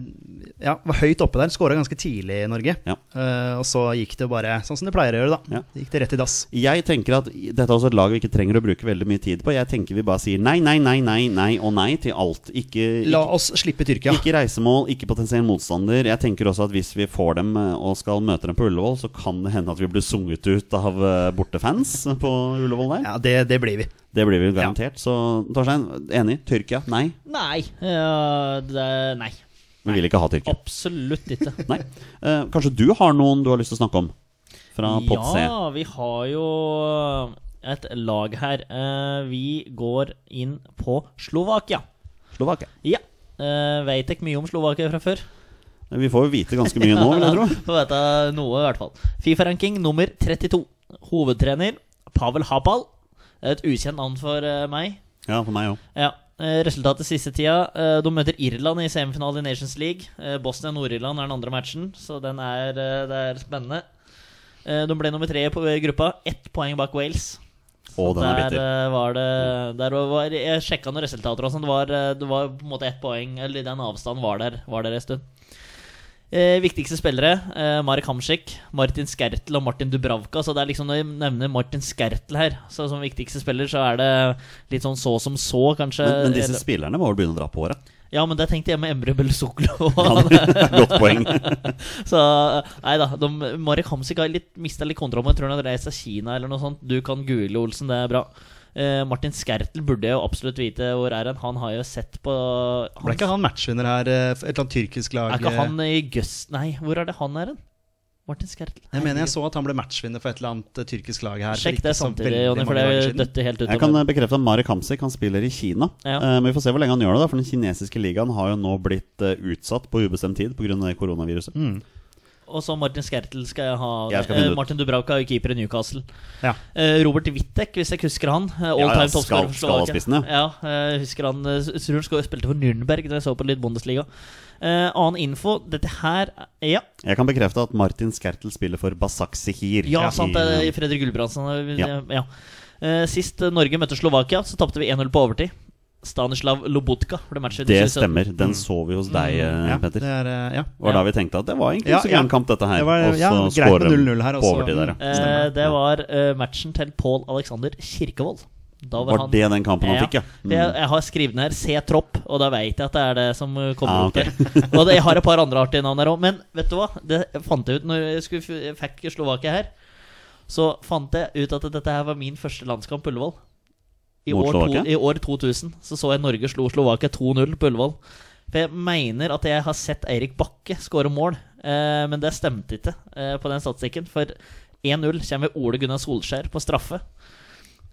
C: ja, var høyt oppe der. Skåra ganske tidlig i Norge.
A: Ja.
C: Eh, og så gikk det bare sånn som det pleier å gjøre, da.
A: Ja.
C: Gikk det rett i dass.
A: Jeg tenker at Dette er også et lag vi ikke trenger å bruke veldig mye tid på. Jeg tenker vi bare sier nei, nei, nei, nei, nei og nei til alt. Ikke,
C: La
A: ikke,
C: oss slippe Tyrkia.
A: ikke reisemål, ikke potensiell motstander. Jeg tenker også at hvis vi får dem eh, og skal møte dem på Ullevål, så kan det hende at vi blir sunget ut av eh, bortefans på Ullevål der.
C: Ja, det, det blir vi.
A: Det blir vi jo garantert. Så Torstein, enig? Tyrkia? Nei.
B: Nei. Ja, det, nei.
A: Vi vil ikke ha Tyrkia.
B: Absolutt ikke.
A: Nei. Eh, kanskje du har noen du har lyst til å snakke om? Fra pott C.
B: Ja, vi har jo et lag her. Eh, vi går inn på Slovakia.
A: Slovakia.
B: Ja. Uh, Veit ikke mye om Slovakia fra før.
A: Vi får jo vite ganske mye nå, vil jeg tro.
B: Får vite noe, i hvert fall. Fifa-ranking nummer 32. Hovedtrener Pavel Hapal. Et ukjent navn for eh, meg.
A: Ja, for meg òg.
B: Ja. eh, Resultatet siste tida eh, De møter Irland i semifinale i Nations League. Eh, Bosnia og Nord-Irland er den andre matchen, så den er, eh, det er spennende. Eh, De ble nummer tre på eh, gruppa. Ett poeng bak Wales.
A: Å, den er
B: der
A: bitter.
B: eh, var det der var, Jeg sjekka noen resultater og sånn. Det, var, eh, det var på en måte ett poeng, eller den avstanden var der, var der en stund. Eh, viktigste spillere eh, Marek Hamsik, Martin Skertel og Martin Dubravka. Så det er liksom Når jeg nevner Martin Skertel her så som viktigste spiller, så er det litt sånn så som så, kanskje.
A: Men, men disse
B: Eller-
A: spillerne må vel begynne å dra på håret?
B: ja, men det tenkte jeg med Emre Belsoklo.
A: Ja, det er et Godt poeng.
B: Så nei da. De, Marek Hamsik har litt, mista litt kontroll, men jeg tror han har reist til Kina eller noe sånt. Du kan google Olsen, det er bra. Eh, Martin Skertel burde jeg jo absolutt vite hvor er han. Han har jo sett på han,
C: Ble ikke han matchvinner her? eh, for Et eller annet tyrkisk lag
B: Er ikke
C: eh,
B: han i Gøst... Nei, hvor er det han er hen? Martin Skertel.
C: Jeg mener jeg så at han ble matchvinner for et eller annet eh, tyrkisk lag her. for
B: Sjekk
C: ikke
B: det
C: så
B: samtidig,
C: veldig
B: Jonny, for
C: mange dager
B: det
C: siden.
B: døtter helt ut.
A: Jeg kan eh, bekrefte at Marek Hamsik han spiller i Kina.
B: Ja.
A: Eh, Men vi får se hvor lenge han gjør det, da for den kinesiske ligaen har jo nå blitt eh, utsatt på ubestemt tid pga. koronaviruset.
C: Mm.
B: Og så Martin Skertel skal jeg ha.
A: Jeg skal
B: Eh,
A: finne ut.
B: Martin Dubravka er jo keeper i Newcastle.
C: Ja.
B: Eh, Robert Wittek, hvis jeg ikke husker han. eh, All
A: Ja, ja,
B: time toppscorer
A: skal-
B: for
A: skal ha
B: Slovakia.
A: spissen,
B: ja. eh, husker han eh, s- Tror han skal- spilte for Nürnberg da jeg så på litt Bundesliga. Eh, annen info Dette her Ja,
A: Jeg kan bekrefte at Martin Skertel spiller for Basak Sihir. Eh,
B: ja
A: i-
B: sant, det er Fredrik Gulbrandsen. Ja.
A: Ja.
B: ja. Eh, sist eh, Norge møtte Slovakia, så tapte vi 1-0 på overtid. Stanislav Lobotka ble matchvinner.
A: Det
B: 2017.
A: stemmer. Den så vi hos deg, eh,
C: Mm. Ja,
A: Petter.
C: det er, eh, ja.
A: var
B: Ja.
A: da vi tenkte at det var egentlig
C: Ja,
A: ikke så
C: ja.
A: gæren kamp, dette her.
C: Det var-
A: og så
C: ja, greit med
A: scorer de
C: 0-0 her, og
A: på
C: så-
A: overtid der, ja.
B: Eh,
C: Stemmer.
B: det var eh, matchen til Pål Alexander Kirkevold. Da
A: Var
B: han-
A: det den kampen han fikk, ja? Mm.
B: For Jeg, jeg har skrevet ned her 'Se tropp', og da veit jeg at det er det som uh, kommer
A: Ah,
B: opp der. Og det, jeg har et par andre artige navn her òg, men vet du hva? Det fant jeg ut når jeg skulle, f- jeg fikk Slovakia her. Så fant jeg ut at dette her var min første landskamp på Ullevål. I
A: Mot
B: år, to,
A: Slovakia?
B: I år 2000 så så jeg Norge slo Slovakia 2-0 på Ullevål. For jeg mener at jeg har sett Eirik Bakke skåre mål, eh, men det stemte ikke eh, på den statistikken. For 1-0 kommer Ole Gunnar Solskjær på straffe.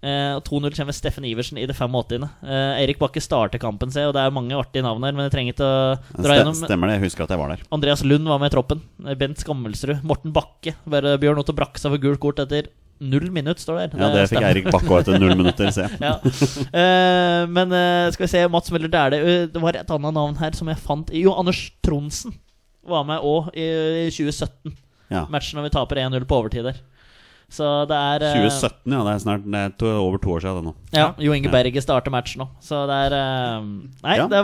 B: Eh, og 2-0 kommer Steffen Iversen i det 85. Eh, Eirik Bakke starter kampen, ser jeg, og det er mange artige navn her, men jeg trenger ikke å dra
A: Ste-
B: gjennom.
A: Stemmer det. Jeg husker at jeg var der.
B: Andreas Lund var med i troppen. Eh, Bent Skammelsrud. Morten Bakke. Bare Bjørn Otto Braksa for gult kort etter null minutt, står det her. Eh,
A: Ja, Det fikk
B: stemmer.
A: Eirik Bakke etter null minutter, ser jeg.
B: Ja. Eh, men eh, skal vi se, Mats Møller Dæhlie eh, Det var et annet navn her som jeg fant Jo, Anders Tronsen var med òg i, i 2017.
A: Ja.
B: Matchen når vi taper 1-0 på overtid der. Så det er eh,
A: 2017, ja. Det er snart det er to, over to år siden det nå.
B: Ja, Jo
A: Ja.
B: Inge Berge starter matchen nå. Så det er eh, Nei,
A: Ja,
B: det er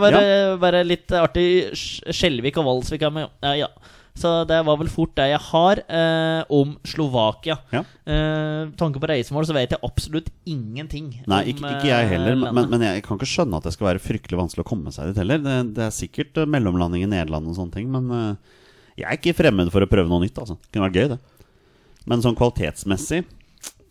B: bare, bare litt artig. Sk- Skjelvik og Valsvik er med, ja. ja. Så det var vel fort det jeg har eh, om Slovakia.
A: Ja.
B: Eh, tanke på reisemål så vet jeg absolutt ingenting.
A: Nei,
B: om,
A: ikke, ikke jeg heller,
B: eh,
A: men,
B: landet.
A: men jeg kan ikke skjønne at det skal være fryktelig vanskelig å komme seg dit heller. Det, det er sikkert eh, mellomlanding i Nederland og sånne ting, men eh, jeg er ikke fremmed for å prøve noe nytt, altså. Det kunne vært gøy, det. Men sånn kvalitetsmessig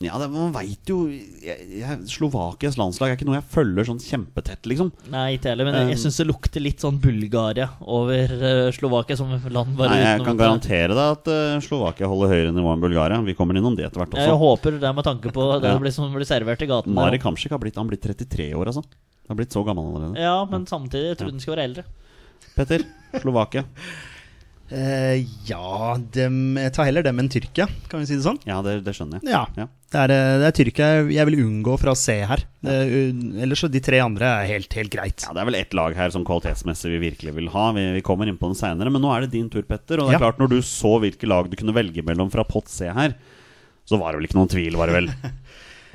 A: Ja, det, man veit jo jeg, jeg, Slovakias landslag er ikke noe jeg følger sånn kjempetett, liksom.
B: Nei, ikke heller, men jeg- jeg
A: Um,
B: syns det lukter litt sånn Bulgaria over eh, Slovakia som land. Bare
A: Nei, jeg
B: utenom
A: kan
B: at-
A: garantere deg at eh, Slovakia holder høyere nivå enn Bulgaria. Vi kommer innom det etter hvert
B: Jeg
A: også.
B: håper det er med tanke på det
A: Ja.
B: som blir- som blir servert i gaten.
A: Mari Kamsik har blitt, han blir 33 år, altså. Han har blitt så gammel allerede.
B: Ja, men samtidig, jeg trodde den skulle være eldre.
A: Petter, Slovakia.
C: Eh, ja, dem, jeg tar heller dem enn Tyrkia, kan vi si det sånn.
A: Ja, det, det skjønner jeg.
C: Ja.
A: Ja.
C: Det er, eh, det er Tyrkia jeg- jeg vil unngå fra å se her. Eh, un- ellers så de tre andre er helt, helt greit.
A: Ja, Det er vel ett lag her som kvalitetsmessig vi virkelig vil ha. Vi, vi kommer inn på den senere, men nå er det din tur, Petter. Og det er
C: Ja.
A: klart, når du så hvilke lag du kunne velge mellom fra pott C her, så var det vel ikke noen tvil, var det vel?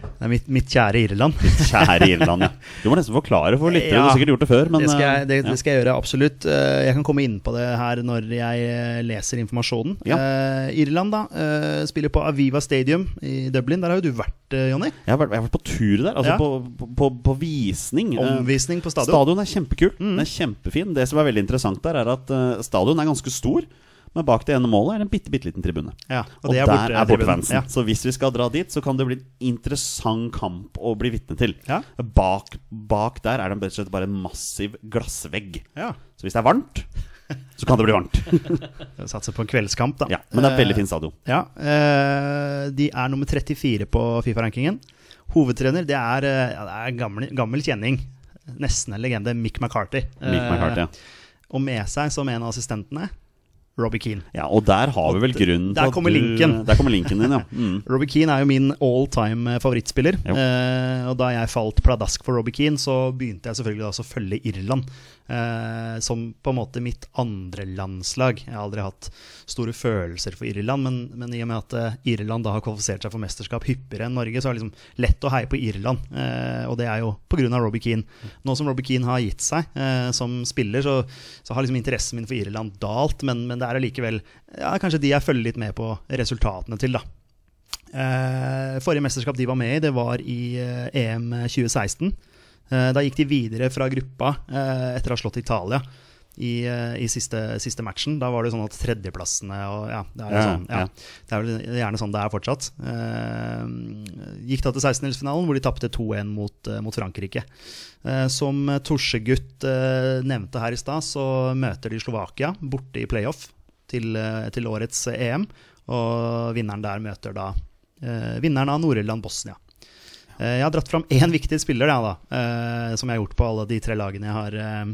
C: Det er mitt, mitt kjære Irland.
A: Kjære Irland, ja. Du må nesten forklare for lyttere. Du
C: Ja.
A: har sikkert gjort det før, men
C: det, skal jeg, det,
A: eh, ja.
C: det skal jeg gjøre, absolutt. Eh, Jeg kan komme inn på det her når jeg eh, leser informasjonen.
A: Ja.
C: Eh, Irland da, eh, spiller på Aviva Stadium i Dublin. Der har jo du vært, eh, Jonny.
A: jeg, har vært, jeg har vært på tur der, altså
C: Ja.
A: på, på, på, på visning. eh,
C: Omvisning på stadion. Mm.
A: Stadion er kjempekult. Den er kjempefin. Det som er veldig interessant der, er at eh, stadion er ganske stor, men bak det ene målet er det en bitte, bitte liten tribune.
C: Ja,
A: Og, der er
C: tribunen.
A: bortefansen.
C: Ja.
A: Så hvis vi skal dra dit, så kan det bli en interessant kamp å bli vitne til.
C: Ja.
A: Bak, bak der er det rett og slett bare en massiv glassvegg.
C: Ja.
A: Så hvis det er varmt, så kan det bli varmt.
C: Jeg Satser på en kveldskamp, da. Eh,
A: Ja, men det er et veldig fin stadion.
C: Ja, eh, De er nummer 34 på Fifa-rankingen. Hovedtrener det er, eh, ja, det er gammel, gammel kjenning. Nesten en legende, Mick McCarthy.
A: Mick McCarthy.
C: Eh, Og med seg som en av assistentene, Robbie Keane.
A: Ja, og der har vi vel grunnen
C: Der kommer linken.
A: Der kommer linken din, ja. Mm.
C: Robbie Keane er jo min all time favorittspiller.
A: Jo.
C: Eh, og da jeg falt pladask for Robbie Keane, så begynte jeg selvfølgelig da også å følge Irland. Eh, som på en måte mitt andre landslag. Jeg har aldri hatt store følelser for Irland, men, men i og med at eh, Irland da har kvalifisert seg for mesterskap hyppigere enn Norge, så er det liksom lett å heie på Irland. Eh, og det er jo pga. Robbie Keane. Nå som Robbie Keane har gitt seg eh, som spiller, så, så har liksom interessen min for Irland dalt, men, men det er allikevel ja, kanskje de jeg følger litt med på resultatene til, da. Eh, forrige mesterskap de var med i, det var i eh, EM 2016. Eh, da gikk de videre fra gruppa eh, etter å ha slått Italia i, eh, i siste, siste matchen. Da var det sånn at tredjeplassene og ja, det er jo
A: Ja,
C: sånn, ja,
A: ja.
C: Det er vel gjerne sånn det er fortsatt. Eh, gikk da til 16-delsfinalen, hvor de tapte 2-1 mot, eh, mot Frankrike. Eh, som Torsegutt eh, nevnte her i stad, så møter de Slovakia borte i playoff til, eh, til årets eh, EM. Og vinneren der møter da eh, vinneren av Nord-Irland-Bosnia. Eh, jeg har dratt fram én viktig spiller, jeg, da, eh, som jeg har gjort på alle de tre lagene jeg har eh,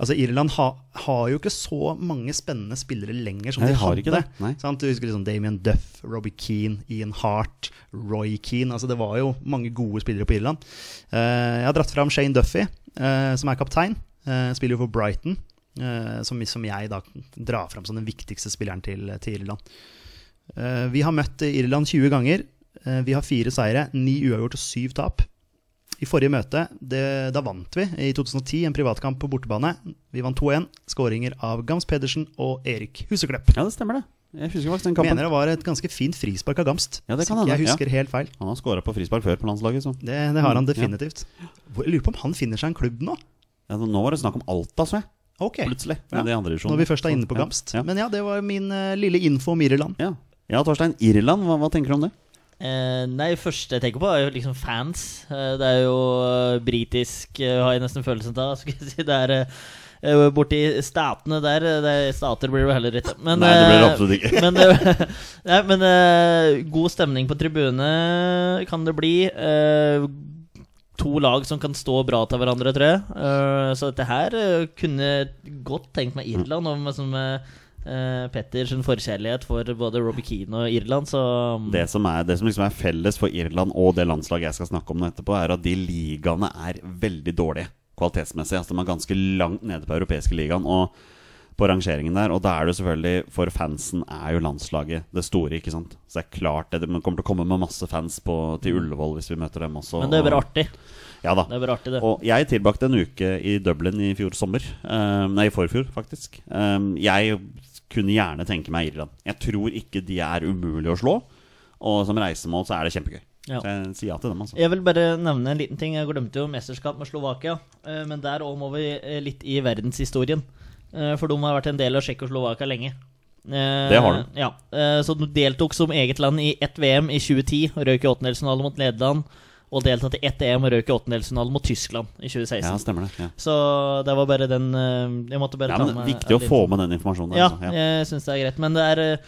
C: Altså, Irland ha, har jo ikke så mange spennende spillere lenger som
A: Nei,
C: de
A: de har
C: hadde.
A: ikke det. Nei.
C: Sant? Du husker liksom Damien Duff, Robbie Keane, Ian Hart, Roy Keane. Altså, det var jo mange gode spillere på Irland. Eh, jeg har dratt fram Shane Duffy, eh, som er kaptein. eh, spiller jo for Brighton, eh, som, som jeg da drar fram som den viktigste spilleren til, til Irland. Eh, vi har møtt Irland 20 ganger. Eh, vi har fire seire, ni uavgjort og syv tap. I forrige møte, det, da vant vi i 2010 en privatkamp på bortebane. Vi vant 2-1. Skåringer av Gams Pedersen og Erik Huseklepp.
A: Ja, det stemmer det. Jeg husker faktisk den
C: Jeg
A: kampen.
C: Mener det var et ganske fint frispark av Gamst.
A: Ja, det kan
C: Så ikke
A: hende,
C: jeg husker helt feil.
A: Han har skåra på frispark før på landslaget, så.
C: Det, det har han
A: Mm, ja.
C: definitivt. Hvor- Jeg lurer på om han finner seg en klubb nå?
A: Ja, nå var det snakk om Alta, så jeg.
C: Ok,
A: Plutselig.
C: Ja.
A: Men det er andre divisjon.
C: Når vi først er inne på
A: Ja,
C: Gamst.
A: Ja,
C: Men sånn ja, det var min eh, lille info om Irland.
A: ja. ja Torstein. Irland, hva, hva tenker du om det?
B: Eh, nei, første jeg tenker på, er jo liksom fans. Eh, det er jo eh, britisk, eh, har jeg nesten følelsen av. Skulle jeg si. Det er eh, borti statene der. eh, Det er, stater blir det jo heller ikke. Men,
A: Nei, det blir det
B: eh,
A: absolutt ikke.
B: men, eh, nei, men eh, god stemning på tribunene kan det bli. Eh, to lag som kan stå bra til hverandre, tror jeg. Eh, så dette her eh, kunne godt tenkt meg Irland. Og med, som, eh, eh, Petters forkjærlighet for både Robbie Keane og Irland, så mm.
A: Det som, er, det som liksom er felles for Irland og det landslaget jeg skal snakke om nå etterpå, er at de ligaene er veldig dårlige kvalitetsmessig. Altså De er ganske langt nede på europeiske ligaen og på rangeringen der. Og da er det jo selvfølgelig For fansen er jo landslaget det store, ikke sant. Så det er klart det. Det kommer til å komme med masse fans på, til Ullevål hvis vi møter dem også.
B: Mm. Men det er bare
A: og-
B: artig.
A: Ja da.
B: Det er bare artig, det.
A: Og jeg tilbrakte en uke i Dublin i fjor sommer. Eh, nei, i forfjor, faktisk. Eh, jeg kunne gjerne tenke meg Irland. Jeg tror ikke de er umulige å slå. Og som reisemål så er det kjempegøy.
B: Ja.
A: Så jeg sier ja til dem, altså.
B: Jeg vil bare nevne en liten ting. Jeg glemte jo mesterskap med Slovakia. eh, Men der òg må vi eh, litt i verdenshistorien. Eh, For de har vært en del av Tsjekkoslovakia lenge. Det
A: har de.
B: Ja. eh, Så de deltok som eget land i ett VM i 2010. og Røk i åttendelsfinalen mot Nederland. Og deltatt i ett EM og røk i åttendelsfinalen mot Tyskland i 2016.
A: Ja, stemmer det. Ja.
B: Så det var bare den eh, Jeg måtte bare
A: Ja,
B: ta
A: men
B: med
A: viktig å
B: en
A: få
B: liten-
A: med den informasjonen. Der,
B: Ja,
A: altså. ja.
B: jeg syns det er greit. Men det er eh,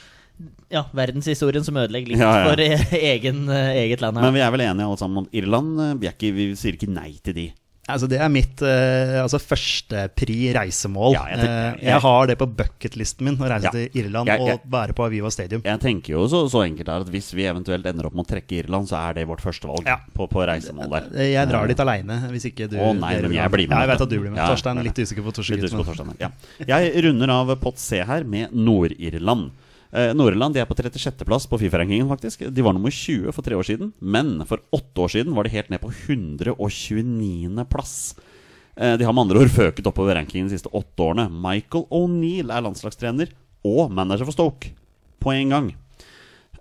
B: ja, verdenshistorien som ødelegger litt
A: Ja, ja.
B: for eh, egen, eh, eget land her.
A: Men vi er vel enige alle sammen om at Irland. eh, Vi, er ikke, vi sier ikke nei til de.
C: Altså, det er mitt eh, altså, førstepri reisemål.
A: Ja, jeg tenker-
C: Eh, jeg har det på bucketlisten min, å reise
A: Ja.
C: til Irland
A: Jeg- jeg-
C: og være på Aviva Stadium.
A: Jeg tenker jo så, så enkelt er at hvis vi eventuelt ender opp med å trekke Irland, så er det vårt førstevalg
C: Ja.
A: på, på reisemål der.
C: Eh, Jeg drar dit aleine, hvis ikke du
A: Å, nei,
C: dere
A: men
C: vil
A: jeg
C: ha
A: blir med.
C: Ja, jeg vet at du blir med.
A: Ja, jeg
C: Torstein
A: blir med.
C: er litt usikker på
A: Litt
C: Torsegutt.
A: usikker på
C: men-
A: Torstein her, ja. Jeg runder av pott C her med Nord-Irland. Eh, Nord-Irland de er på 36.-plass på Fifa-rankingen, faktisk. De var nummer 20 for tre år siden, men for åtte år siden var de helt ned på 129.-plass. Eh, de har med andre ord føket oppover rankingen de siste åtte årene. Michael O'Neill er landslagstrener og manager for Stoke på en gang.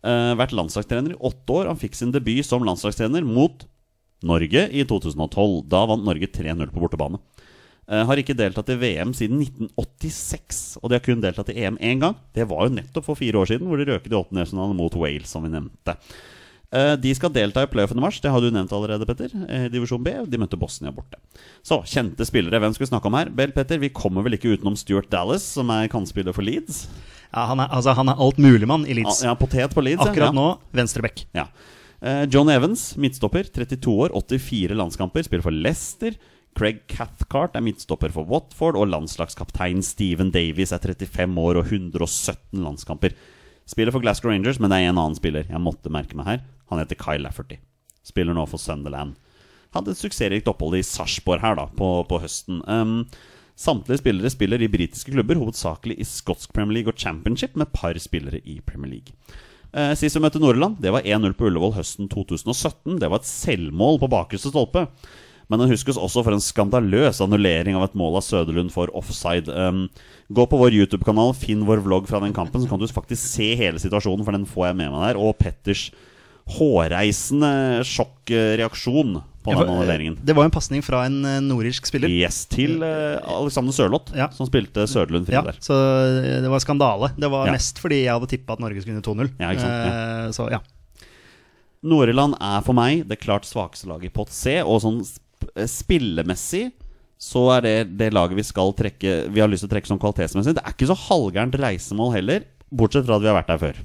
A: Eh, vært landslagstrener i åtte år. Han fikk sin debut som landslagstrener mot Norge i 2012. Da vant Norge 3-0 på bortebane. Eh, har ikke deltatt i VM siden 1986, og de har kun deltatt i EM én gang. Det var jo nettopp for fire år siden, hvor de røket i åttendedelsfinalen mot Wales, som vi nevnte. Eh, De skal delta i playoffen i mars, det har du nevnt allerede, Petter. eh, Divisjon B. De møtte Bosnia borte. Så, kjente spillere. Hvem skal vi snakke om her? Vel, Petter, vi kommer vel ikke utenom Stuart Dallas, som er kantspiller for Leeds.
C: Ja, han er, altså, han er altmuligmann i Leeds.
A: Ja, potet på Leeds. ja. ja.
C: Akkurat nå venstreback.
A: Ja. Eh, John Evans, midtstopper, 32 år, 84 landskamper, spiller for Leicester. Craig Cathcart er midtstopper for Watford, og landslagskaptein Steven Davies er 35 år og 117 landskamper. Spiller for Glasgow Rangers, men det er en annen spiller jeg måtte merke meg her. Han heter Kyle Lafferty. Spiller nå for Sunderland. Hadde et suksessrikt opphold i Sarpsborg her da, på, på høsten. Um, samtlige spillere spiller i britiske klubber, hovedsakelig i skotsk Premier League og Championship, med par spillere i Premier League. Eh, sist vi møtte Nordland, det var 1-0 på Ullevål høsten 2017. Det var et selvmål på bakerste stolpe. Men den huskes også for en skandaløs annullering av et mål av Søderlund for offside. Um, gå på vår YouTube-kanal, finn vår vlogg fra den kampen, så kan du faktisk se hele situasjonen, for den får jeg med meg der. Og Petters hårreisende sjokkreaksjon på den annulleringen.
C: eh, Det var jo en pasning fra en eh, nordirsk spiller.
A: Yes, til eh, Alexander Sørloth,
C: Ja.
A: som spilte Søderlund fri
C: Ja,
A: der.
C: så eh, det var skandale. Det var
A: Ja.
C: mest fordi jeg hadde tippa at Norge skulle vinne 2-0.
A: Ja, ikke sant, ja.
C: Eh, Så ja.
A: Nord-Irland er for meg det klart svakeste laget i pott C, og sånn sp- eh, spillemessig så er det det laget vi skal trekke Vi har lyst til å trekke som kvalitetsmessig. Det er ikke så halvgærent reisemål heller, bortsett fra at vi har vært der før.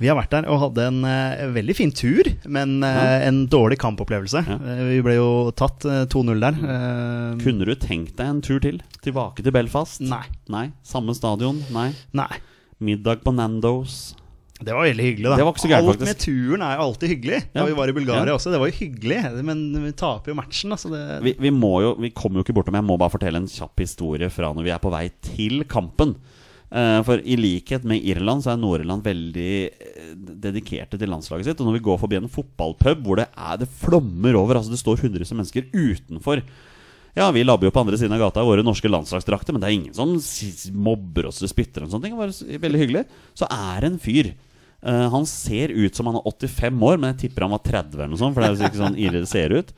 C: Vi har vært der og hadde en eh, veldig fin tur, men eh, en dårlig kampopplevelse.
A: Ja.
C: Eh, vi ble jo tatt eh, 2-0 der. Eh,
A: Kunne du tenkt deg en tur til? Tilbake til Belfast?
C: Nei.
A: Nei. Samme stadion? Nei.
C: Nei.
A: Middag på Nandos?
C: Det var veldig hyggelig, da.
A: Det var ikke så gærent,
C: Alt
A: faktisk.
C: med turen er jo alltid hyggelig. Da
A: Ja.
C: vi var i Bulgaria
A: Ja.
C: også, det var jo hyggelig. Men vi taper jo matchen, da, så det
A: vi, vi må jo Vi kommer jo ikke bortom Jeg må bare fortelle en kjapp historie fra når vi er på vei til kampen. Eh, for i likhet med Irland så er Nord-Irland veldig eh, dedikerte til landslaget sitt. Og når vi går forbi en fotballpub hvor det er Det flommer over, altså det står hundrevis av mennesker utenfor. Ja, vi labber jo på andre siden av gata i våre norske landslagsdrakter, men det er ingen som s- mobber oss eller spytter og sånne ting. Det var s- veldig hyggelig. Så er det en fyr. eh, han ser ut som han er 85 år, men jeg tipper han var 30 eller noe sånt, for det er jo ikke sånn irre det ser ut.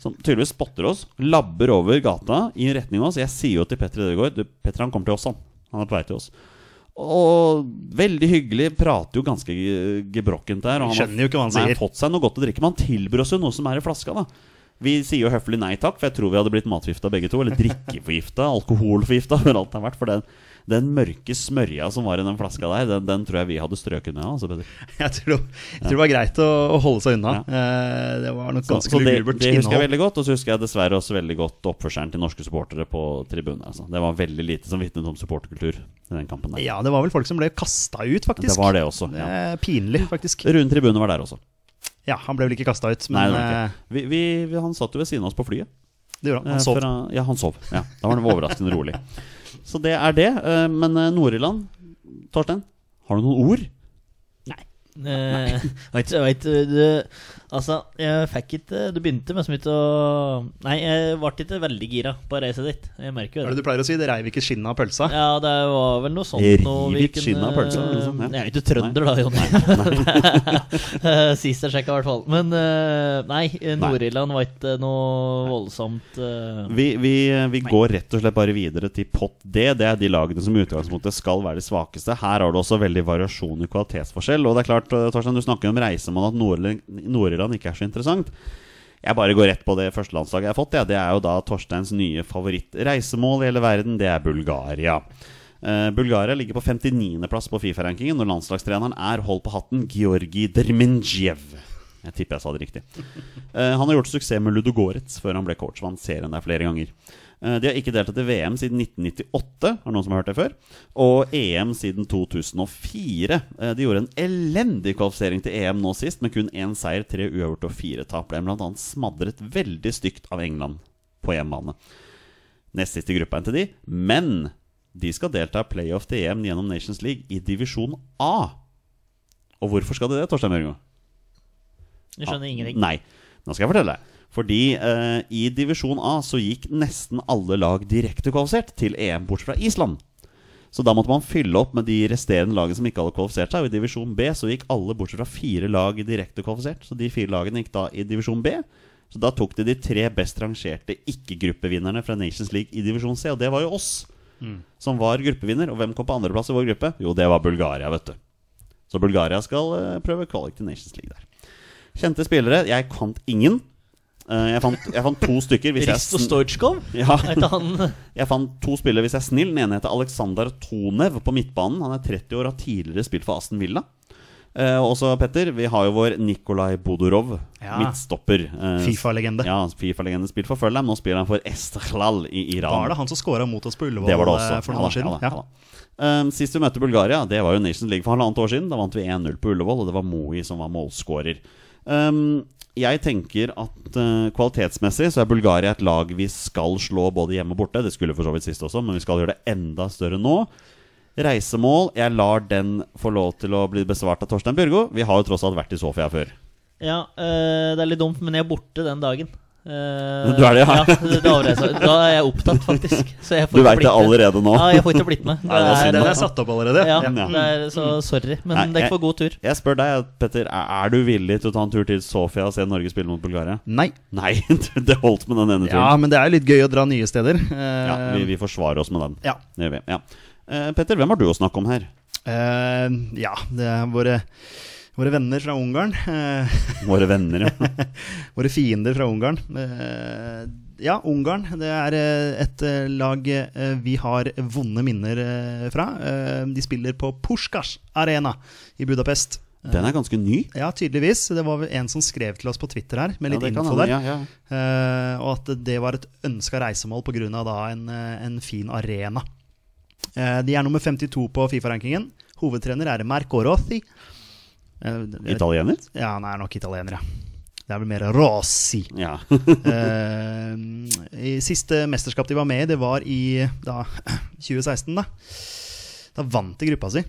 A: Som tydeligvis spotter oss, labber over gata i retning av oss. Jeg sier jo til Petter Ødegaard Du, Petter, han kommer til oss, han. Han er på vei til oss. Og veldig hyggelig, prater jo ganske ge- gebrokkent der. Og
C: Skjønner jo ikke hva han
A: nei,
C: sier.
A: fått seg noe godt å drikke, men han tilbyr oss jo noe som er i flaska, da. Vi sier jo høflig nei takk, for jeg tror vi hadde blitt matforgifta begge to. Eller drikkeforgifta, alkoholforgifta, hvor alt det har vært. For den, den mørke smørja som var i den flaska der, den, den tror jeg vi hadde strøket med. Altså, Petter.
C: Jeg tror, jeg tror det var greit å, å holde seg unna. Eh, Det var nok
A: Så,
C: ganske
A: så det,
C: lugubert
A: det husker jeg
C: innhold.
A: veldig godt. Og så husker jeg dessverre også veldig godt oppførselen til norske supportere på tribunen. Altså. Det var veldig lite som vitnet om supporterkultur i den kampen. Der.
C: Ja, det var vel folk som ble kasta ut, faktisk.
A: Det var det også.
C: Det
A: Ja.
C: er pinlig, faktisk.
A: Rune Tribune var der også.
C: Ja, han ble vel ikke kasta ut, men
A: Nei, det var
C: eh,
A: ikke. Vi, vi, vi, han satt jo ved siden av oss på flyet.
C: det gjorde han.
A: Eh,
C: Han sov.
A: fra, ja, han sov. Ja, da var han overraskende rolig. Så det er det. eh, Men eh, Nord-Irland, Torstein, har du noen ord?
B: Eh, Veit veit du Altså, jeg fikk ikke Du begynte med så mye til å Nei, jeg ble ikke veldig gira på å reise dit. Jeg merker
C: Hva
B: jo
C: er
B: det.
C: det du pleier å si? Det reiv ikke skinnet av pølsa.
B: Ja, det var vel noe sånt
A: Riv
B: noe
A: litt skinnet av pølsa, liksom, ja.
B: Jeg er jo ikke trønder, da, Jonny. Sist jeg sjekka, i hvert fall. Men eh, nei, Nord-Irland var ikke noe voldsomt eh,
A: Vi, vi, vi går rett og slett bare videre til pott D. Det er de lagene som i utgangspunktet skal være de svakeste. Her har du også veldig variasjon i kvalitetsforskjell. Og det er klart, eh, Torstein, du snakker om reisemål at Nord- Nord-Irland ikke er så interessant. Jeg bare går rett på det første landslaget jeg har fått. Ja. Det er jo da Torsteins nye favorittreisemål i hele verden. Det er Bulgaria. Eh, Bulgaria ligger på 59.-plass på Fifa-rankingen, og landslagstreneren er, hold på hatten, Georgi Derminjev. Jeg tipper jeg sa det riktig. Eh, han har gjort suksess med Ludogorets før han ble coach. Vant serien der flere ganger. Eh, de har ikke deltatt i VM siden 1998, har noen som har hørt det før? Og EM siden 2004. Eh, de gjorde en elendig kvalifisering til EM nå sist, med kun én seier, tre uavgjort og fire tap. Ble bl.a. smadret veldig stygt av England på hjemmebane. Nest sist i gruppa enn til de. Men de skal delta i playoff til EM gjennom Nations League i divisjon A. Og hvorfor skal de det, Torstein Mørgo?
B: Jeg skjønner ingenting.
A: Nei. Nå skal jeg fortelle deg. Fordi eh, i divisjon A så gikk nesten alle lag direkte kvalifisert til EM, bortsett fra Island. Så da måtte man fylle opp med de resterende lagene som ikke hadde kvalifisert seg. Og i divisjon B så gikk alle bortsett fra fire lag direkte kvalifisert. Så de fire lagene gikk da i divisjon B. Så da tok de de tre best rangerte ikke-gruppevinnerne fra Nations League i divisjon C, og det var jo oss. Som var gruppevinner. Og hvem kom på andreplass i vår gruppe? Jo, det var Bulgaria, vet du. Så Bulgaria skal eh, prøve kvalik til Nations League der. Kjente spillere. Jeg fant ingen. Eh, Jeg fant, jeg fant to stykker. Hvis jeg,
B: Risto
A: sn-
B: Stojkov?
A: ja,
B: Er ikke han
A: jeg fant to spillere hvis jeg er snill. Den ene heter Aleksandr Tonev på midtbanen. Han er 30 år og har tidligere spilt for Aston Villa. Eh, også, Petter, vi har jo vår Nikolai Bodorov,
C: Ja.
A: midtstopper. Eh,
C: Fifa-legende.
A: Ja, Fifa-legende spilt for Fulham. Nå spiller han for Esteghlal i Iran.
C: Var det han som scora mot oss på Ullevål
A: Det var det også.
C: eh, for noen år
A: Ja
C: siden?
A: da, ja da, ja da. Um, sist vi møtte Bulgaria, det var jo Nations League for halvannet år siden. Da vant vi 1-0 på Ullevål, og det var Moi som var målskårer. Um, jeg tenker at uh, kvalitetsmessig så er Bulgaria et lag vi skal slå både hjemme og borte. Det skulle for så vidt sist også, men vi skal gjøre det enda større nå. Reisemål, jeg lar den få lov til å bli besvart av Torstein Bjørgo. Vi har jo tross alt vært i Sofia før.
B: Ja, eh, det er litt dumt, men jeg er borte den dagen. Eh,
A: Du er det, ja?
B: det, det avreiser. Da er jeg opptatt, faktisk. Så jeg får
A: Du
B: ikke
A: veit det
B: blitt med.
A: allerede nå.
B: Ja, jeg får ikke blitt med.
A: Nei, Eh, det var synd,
C: Den
A: da.
C: er satt opp allerede. Mm,
B: ja,
A: Ja.
B: det er, så sorry, men
A: Nei,
B: det er
A: jeg-
B: ikke for god tur.
A: Jeg spør deg, Petter. Er er du villig til å ta en tur til Sofia og se Norge spille mot Bulgaria?
C: Nei.
A: Nei, det holdt med den ene turen.
C: Ja, men det er jo litt gøy å dra nye steder. Eh,
A: Ja, vi, vi forsvarer oss med den.
C: ja.
A: Det gjør vi. Ja. Eh, Petter, hvem har du å snakke om her?
C: Eh, ja, det er våre, våre venner fra Ungarn. eh,
A: Våre venner, ja.
C: våre fiender fra Ungarn. Eh, ja, Ungarn. Det er eh, et eh, lag eh, vi har vonde minner eh, fra. Eh, de spiller på Puskas Arena i Budapest.
A: Den er ganske ny.
C: Ja, tydeligvis. Det var vel en som skrev til oss på Twitter her med litt
A: ja, det kan
C: info
A: hende.
C: der.
A: Ja, ja.
C: Eh, og at det var et ønska reisemål pga. En, eh, en fin arena. Eh, de er nummer 52 på Fifa-rankingen. Hovedtrener er Marco Rossi. Eh, det- det-
A: Italiener?
C: ja, han er nok italiener, ja. Det er vel mer Rossi.
A: Ja.
C: Eh, i siste mesterskap de var med i, det var i da, 2016. Da Da vant de gruppa si,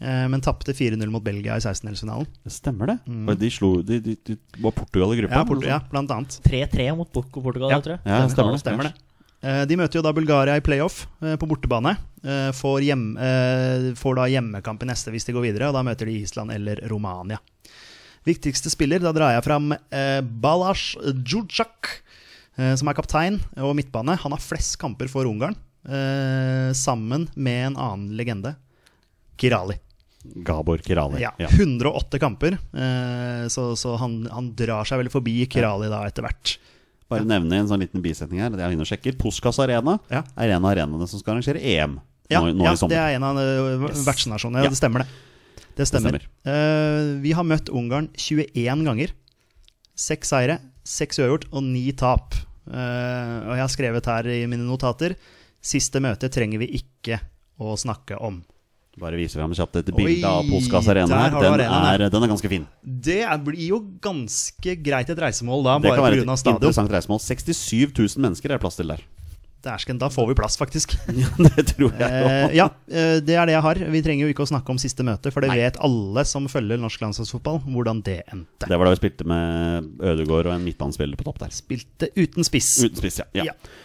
C: eh, men tapte 4-0 mot Belgia i 16-delsfinalen.
A: Det stemmer det. Og De slo de, de, de Var Portugal i gruppa? eller
C: Mm. Ja,
A: noe
C: Port- ja,
A: sånt?
C: blant annet.
B: 3-3 mot Boko Portugal,
C: Ja.
B: tror jeg.
A: ja stemmer, det.
C: Stemmer det. Eh, De møter jo da Bulgaria i playoff eh, på bortebane. Eh, Får, hjem, eh, får da hjemmekamp i neste hvis de går videre, og da møter de Island eller Romania. Viktigste spiller, da drar jeg fram eh, Balas Djudjak, eh, som er kaptein og midtbane. Han har flest kamper for Ungarn, eh, sammen med en annen legende, Kirali.
A: Gabor Kirali.
C: Ja, 108 kamper, eh, så, så han, han drar seg vel forbi Kirali da etter hvert.
A: Bare nevne en sånn liten bisetning her. Det er inne og sjekker. Puskas Arena
C: Ja.
A: er en av arenaene som skal arrangere EM
C: Ja,
A: nå, nå
C: ja
A: i sommer.
C: det er en av eh,
A: Yes.
C: vertsnasjonene.
A: Ja.
C: Ja, det stemmer, det. Det stemmer. Eh, vi har møtt Ungarn 21 ganger. Seks seire, seks uavgjort og ni tap. Eh, og jeg har skrevet her i mine notater Siste møte trenger vi ikke å snakke om.
A: Bare vise fram kjapt et
C: Oi,
A: bilde av Puskas Arena. her.
C: der har du
A: Den,
C: arenaen,
A: er, den er ganske fin.
C: Det er- blir jo ganske greit et reisemål da,
A: Det kan
C: bare
A: være
C: pga.
A: et
C: stadion.
A: interessant reisemål. 67 000 mennesker er det plass til der.
C: Dæsken, da får vi plass, faktisk.
A: Ja, det tror jeg òg.
C: Eh, ja, eh, det er det jeg har. Vi trenger jo ikke å snakke om siste møte, for det
A: Nei.
C: vet alle som følger norsk landslagsfotball, hvordan det endte.
A: Det var da vi spilte med Ødegaard og en midtbanespiller på topp der.
C: Spilte uten spiss.
A: Uten spiss, ja. ja.
C: Ja.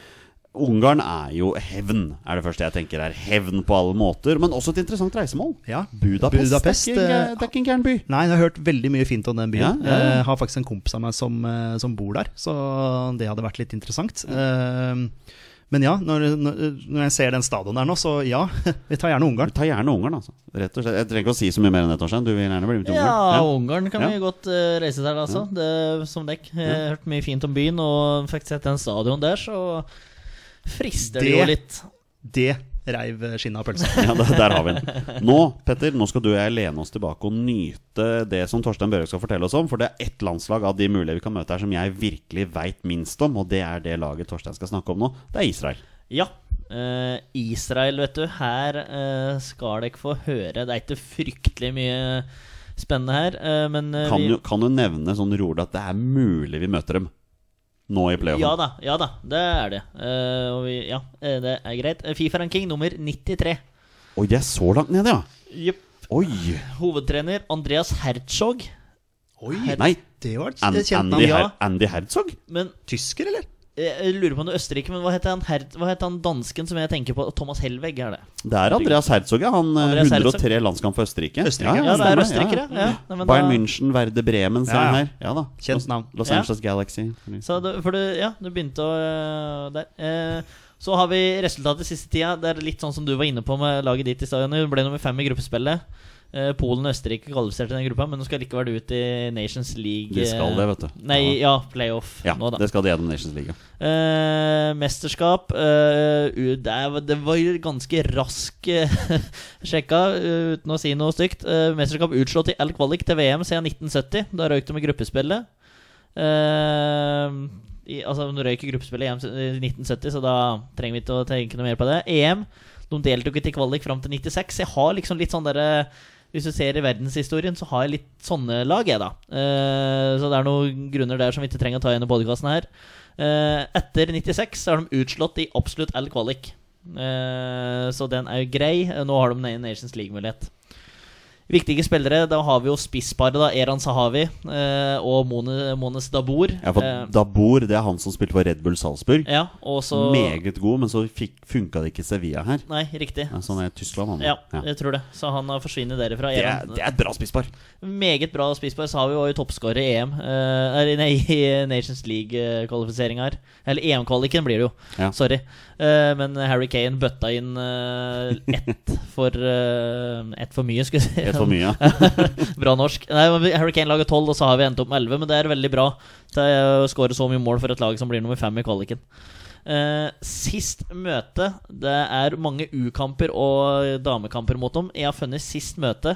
A: Ungarn er jo hevn, er det første jeg tenker er. Hevn på alle måter, men også et interessant reisemål.
C: Ja.
A: Budapest,
C: Budapest,
A: det, er ikke,
C: eh,
A: det er ikke en gæren by.
C: Nei, jeg har hørt veldig mye fint om den byen.
A: Ja, ja, ja.
C: Jeg har faktisk en kompis av meg som, eh, som bor der, så det hadde vært litt interessant. Eh, Men ja, når, når når jeg ser den stadion der nå, så ja, vi tar gjerne Ungarn.
A: Vi tar gjerne Ungarn, altså. Rett og slett. Jeg trenger ikke å si så mye mer enn et år siden. Du vil gjerne bli med til
B: Ja,
A: Ungarn?
B: Ungarn kan
A: Ja.
B: vi godt eh, reise til, altså. Det, som dekk. Jeg har hørt mye fint om byen, og fikk sett den stadion der, så frister det,
C: Det-
B: jo litt.
C: Det reiv skinnet av pølsa.
A: Ja, ja der, der har vi den. Nå, Petter, nå skal du og jeg lene oss tilbake og nyte det som Torstein Børøk skal fortelle oss om. For det er ett landslag av de mulige vi kan møte her som jeg virkelig veit minst om, og det er det laget Torstein skal snakke om nå. Det er Israel.
B: Ja. eh, Israel, vet du. Her eh, skal dere få høre. Det er ikke fryktelig mye spennende her, eh, men eh,
A: Kan
B: vi-
A: jo, kan jo nevne sånn rolig at det er mulig vi møter dem nå i playoffen.
B: Ja da, ja da, det er det. Eh, og vi, ja, eh, det er greit. Fifa-ranking nummer 93.
A: Oi, det er så langt nede, ja.
B: Jepp.
A: Oi!
B: Hovedtrener Andreas Herzog.
C: Oi,
A: Nei,
C: det var et
A: An
C: et kjent
A: Andy,
C: navn.
A: Her Andy Herzog?
B: Men
C: Tysker, eller?
B: eh, jeg lurer på om det er Østerrike, men hva heter han, Her hva heter han dansken som jeg tenker på? Thomas Helweg er det.
A: Det er Andreas Herzog, ja. Han eh,
B: Andreas Herzog.
A: 103 landskamp for Østerrike.
C: Østerrike,
B: Ja, det er
A: Ah, stemmer,
B: østerrikere. Ja. Nei, men
A: Bayern
B: da-
A: München, Verde Bremen, se
C: Ja, ja.
A: her. Ja da.
C: Kjent
A: Los-
C: navn.
A: Los
B: Ja.
A: Angeles Galaxy.
B: Så det, for det, ja, det begynte å øh, der. Eh, så har vi resultatet siste tida. Det er litt sånn som du var inne på med laget ditt i stadion. Vi ble nummer fem i gruppespillet. Eh, Polen og Østerrike kvalifiserte i den gruppa, men de skal likevel ut i Nations League.
A: De skal det,
B: eh,
A: vet du.
B: Nei, ja, playoff
A: Ja,
B: nå, da.
A: det skal de gjennom Nations League.
B: Eh, mesterskap eh, u- det, er, det var jo ganske rask eh, sjekka, eh, uten å si noe stygt. Eh, mesterskap utslått i all kvalik til VM siden 1970. Da røyk de i gruppespillet. Eh, i, altså, de røyk i gruppespillet i EM i 1970, så da trenger vi ikke å tenke noe mer på det. EM de deltok ikke i kvalik fram til 96. Jeg har liksom litt sånn derre hvis du ser i verdenshistorien, så har jeg litt sånne lag, jeg, da. Eh, så det er noen grunner der som vi ikke trenger å ta igjen i podkasten her. Eh, etter 96 så er de utslått i absolutt all kvalik. Eh, så den er jo grei. Eh, Nå har de en Nations League-mulighet. Viktige spillere, da har vi jo spissparet, da. Eran Sahavi eh, og Mone, Mones Dabor.
A: Ja, for
B: Eh,
A: Dabor det er han som spilte for Red Bull Salzburg.
B: ja, og så
A: Meget god, men så fikk, funka det ikke i Sevilla her.
B: Nei, riktig.
A: Ja, så han er i Tyskland, han.
B: Ja,
A: Ja.
B: jeg tror det. Så han har forsvunnet derifra.
A: Det, er,
B: Eran-
A: det er et bra spisspar.
B: Meget bra spisspar. Savi var jo toppskårer i EM. eh, eller nei, i Nations League-kvalifiseringa her. Eller EM-kvaliken blir det jo.
A: Ja.
B: Sorry. Eh, men Harry Kane bøtta inn eh, ett for eh, Ett for mye, skulle jeg
A: Ett
B: si.
A: for mye.
B: bra norsk. Nei, men Harry Kane lager tolv, og så har vi endt opp med elleve. Men det er veldig bra til å skåre så mye mål for et lag som blir nummer fem i kvaliken. Eh, sist møte Det er mange U-kamper og damekamper mot dem. Jeg har funnet sist møte.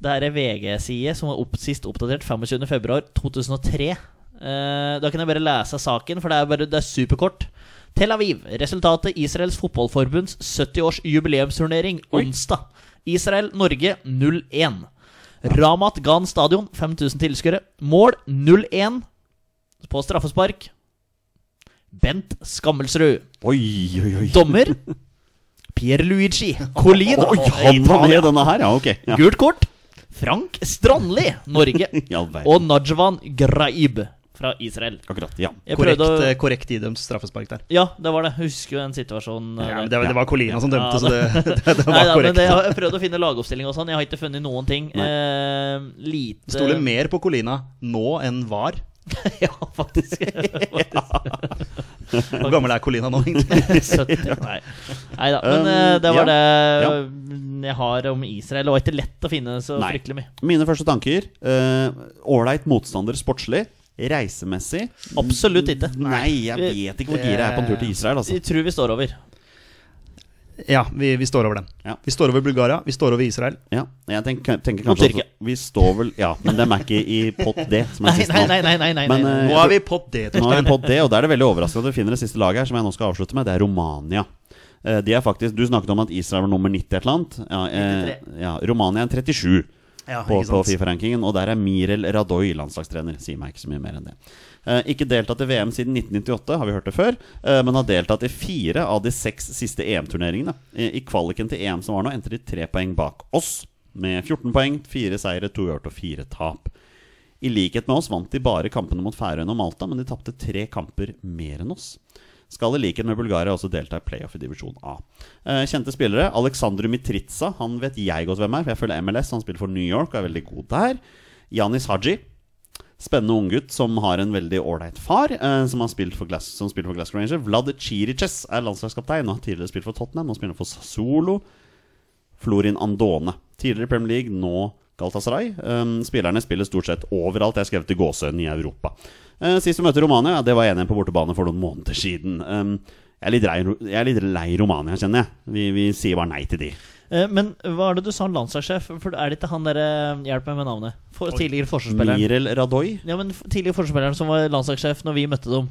B: Det er ei VG-side som var opp, sist oppdatert 25.2.2003. Eh, da kan jeg bare lese saken, for det er, bare, det er superkort. Tel Aviv. Resultatet Israels fotballforbunds 70-års jubileumsturnering onsdag. Israel-Norge 0-1. Ramat Gan stadion, 5000 tilskuere. Mål 0-1 på straffespark. Bent Skammelsrud.
A: Oi, oi, oi.
B: Dommer Pierluigi Colina.
A: Oi, han var med i denne her, ja. Ok. Ja.
B: Gult kort. Frank Strandli, Norge.
A: I all verden.
B: Og Najwan Graib fra Israel.
A: Akkurat. Ja.
B: Jeg
C: Korrekt,
B: prøvde
C: eh,
B: å
C: korrekt idømt straffespark der.
B: Ja, det var det. Jeg husker jo den situasjonen. eh,
C: Ja, men
B: der.
C: det, var- det var Colina som dømte,
B: Ja,
C: så det, det, det var
B: Nei, da, men
C: korrekt.
B: det, jeg har prøvd å finne lagoppstilling og sånn. Jeg har ikke funnet noen ting.
A: Nei.
B: Eh, lite
C: Stoler mer på Colina nå enn var.
B: Ja, faktisk.
C: Hvor gammel er Colina nå, egentlig?
B: 70. Nei da. Men eh, det var
A: Ja.
B: det jeg har om Israel. Det var ikke lett å finne så
A: Nei.
B: fryktelig mye.
A: Mine første tanker. eh, Ålreit motstander sportslig. Reisemessig.
B: Absolutt ikke. Eh,
A: Nei, jeg vet ikke hvor gira jeg er på en tur til Israel, altså.
B: Jeg tror vi står over.
C: Ja, vi, vi står over den.
A: Ja.
C: Vi står over Bulgaria, vi står over Israel.
A: Ja, jeg tenker, tenker kanskje
B: Tyrkia.
A: at vi står vel Ja, men dem er ikke i pott D, som er
B: Nei,
A: siste
B: nei, nei.
A: nå.
B: nei, nei, nei,
A: Men,
B: nei.
A: eh,
C: Nå er vi på det,
A: Nå er
C: Torstein.
A: vi på det, og da er det veldig overraskende at vi finner det siste laget her, som jeg nå skal avslutte med. Det er Romania. Eh, De er faktisk, Du snakket om at Israel var nummer 90 et eller annet. Ja, eh, ja, Romania er 37
C: Ja,
A: på,
C: ikke
A: på
C: sant.
A: Fifa-rankingen, og der er Mirel Radoy landslagstrener. Sier meg ikke så mye mer enn det. Eh, ikke deltatt i VM siden 1998, har vi hørt det før, eh, men har deltatt i fire av de seks siste EM-turneringene. I, I kvaliken til EM som var nå, endte de tre poeng bak oss, med 14 poeng, fire seire, to uavgjort og fire tap. I likhet med oss vant de bare kampene mot Færøyene og Malta, men de tapte tre kamper mer enn oss. Skal i likhet med Bulgaria også delta i playoff i divisjon A. Eh, Kjente spillere. Alexandru Mitritsa, han vet jeg godt hvem er, for jeg følger MLS. Han spiller for New York og er veldig god der. Janis Haji. Spennende unggutt som har en veldig ålreit far, eh, som har spilt for Glass, som spiller for Glasgow Ranger. Vlad Chiriches er landslagskaptein og har tidligere spilt for Tottenham. Nå spiller han for Sassuolo. Florin Andone. Tidligere i Premier League, nå Galatasaray. Um, spillerne spiller stort sett overalt. Jeg har skrevet i gåsehøyden i Europa. Eh, sist vi møtte Romania, ja, det var 1-1 på bortebane for noen måneder siden. Um, jeg, er litt lei, jeg er litt lei Romania, kjenner jeg. Vi, vi sier bare nei til de.
B: Eh, Men hva er det du sa, landslagssjef? For er det ikke han derre Hjelp meg med navnet. For, tidligere forsvarsspilleren.
A: Mirel Radoy?
B: Ja, men f- tidligere forsvarsspilleren som var landslagssjef når vi møtte dem.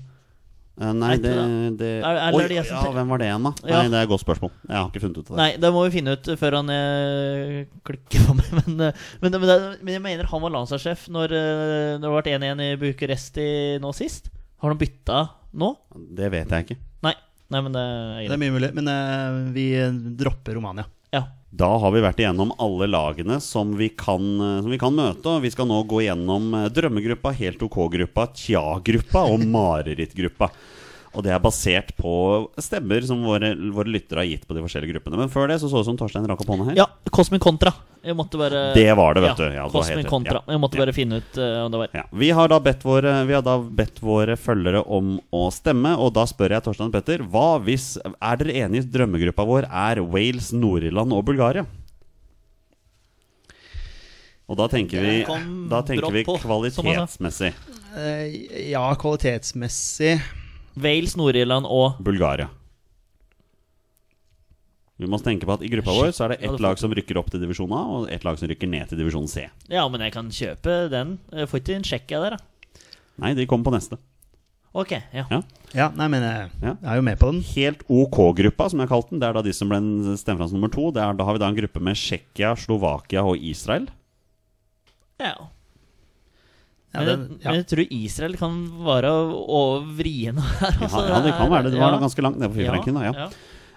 A: Eh, nei,
B: Vet du
A: det,
B: det?
A: det
B: Er- er det
A: Oi,
B: de jeg som
A: ja,
B: tenker?
A: hvem var det igjen, da?
B: Ja.
A: Nei, det er et godt spørsmål. Jeg har ikke funnet ut av det.
B: Nei, det må vi finne ut før han eh, klikker på meg. Men, eh, men, men, det- men jeg mener han var landslagssjef når, eh, når det ble 1-1 i Bucuresti nå sist. Har han bytta nå?
A: Det vet jeg ikke.
B: Nei. Nei, men det er
C: Det er
B: greit.
C: mye mulig, men eh, vi dropper Romania.
B: Ja.
A: Da har vi vært igjennom alle lagene som vi kan, eh, som vi kan møte. og Vi skal nå gå gjennom eh, drømmegruppa, helt OK-gruppa, Tja-gruppa og marerittgruppa. Og det er basert på stemmer som våre, våre lyttere har gitt på de forskjellige gruppene. Men før det så så det ut som Torstein rakk opp hånda her.
B: ja. Cosmic Contra. Jeg måtte bare
A: Det var det, vet du. Ja,
B: Ja,
A: det var helt
B: Cosmic
A: rett.
B: Contra.
A: Ja.
B: Jeg måtte
A: Ja.
B: bare finne ut eh, om det var
A: Ja, vi, har da bedt våre, vi har da bedt våre følgere om å stemme, og da spør jeg Torstein og Petter Hva hvis, Er dere enige drømmegruppa vår er Wales, Nord-Irland og Bulgaria? Og da tenker vi,
B: Det kom
A: da tenker
B: brått
A: vi
B: på, som han sa.
A: kvalitetsmessig
C: Eh, ja, kvalitetsmessig
B: Wales, Nord-Irland og
A: Bulgaria. Vi må tenke på at I gruppa vår så er det
B: Ja, det
A: ett
B: får-
A: lag som rykker opp til divisjon A, og ett lag som rykker ned til divisjon C.
B: Ja, men jeg kan kjøpe den. Jeg får ikke en sjekk jeg der, da.
A: Nei, de kommer på neste.
B: Ok, ja.
A: Ja.
C: Ja, nei, men jeg,
A: Ja.
C: jeg er jo med på den.
A: Helt OK-gruppa, som jeg har kalt den. Det er da de som ble en stemt fram som nummer to. Det er, da har vi da en gruppe med Tsjekkia, Slovakia og Israel.
B: ja.
C: Ja,
B: Men, jeg,
C: den ja.
B: men jeg tror Israel kan være å- å vrien her.
A: Ja,
B: altså.
A: ja, det kan være det. Det var da
B: ja.
A: ganske langt nede på fifa Ja.
B: ja.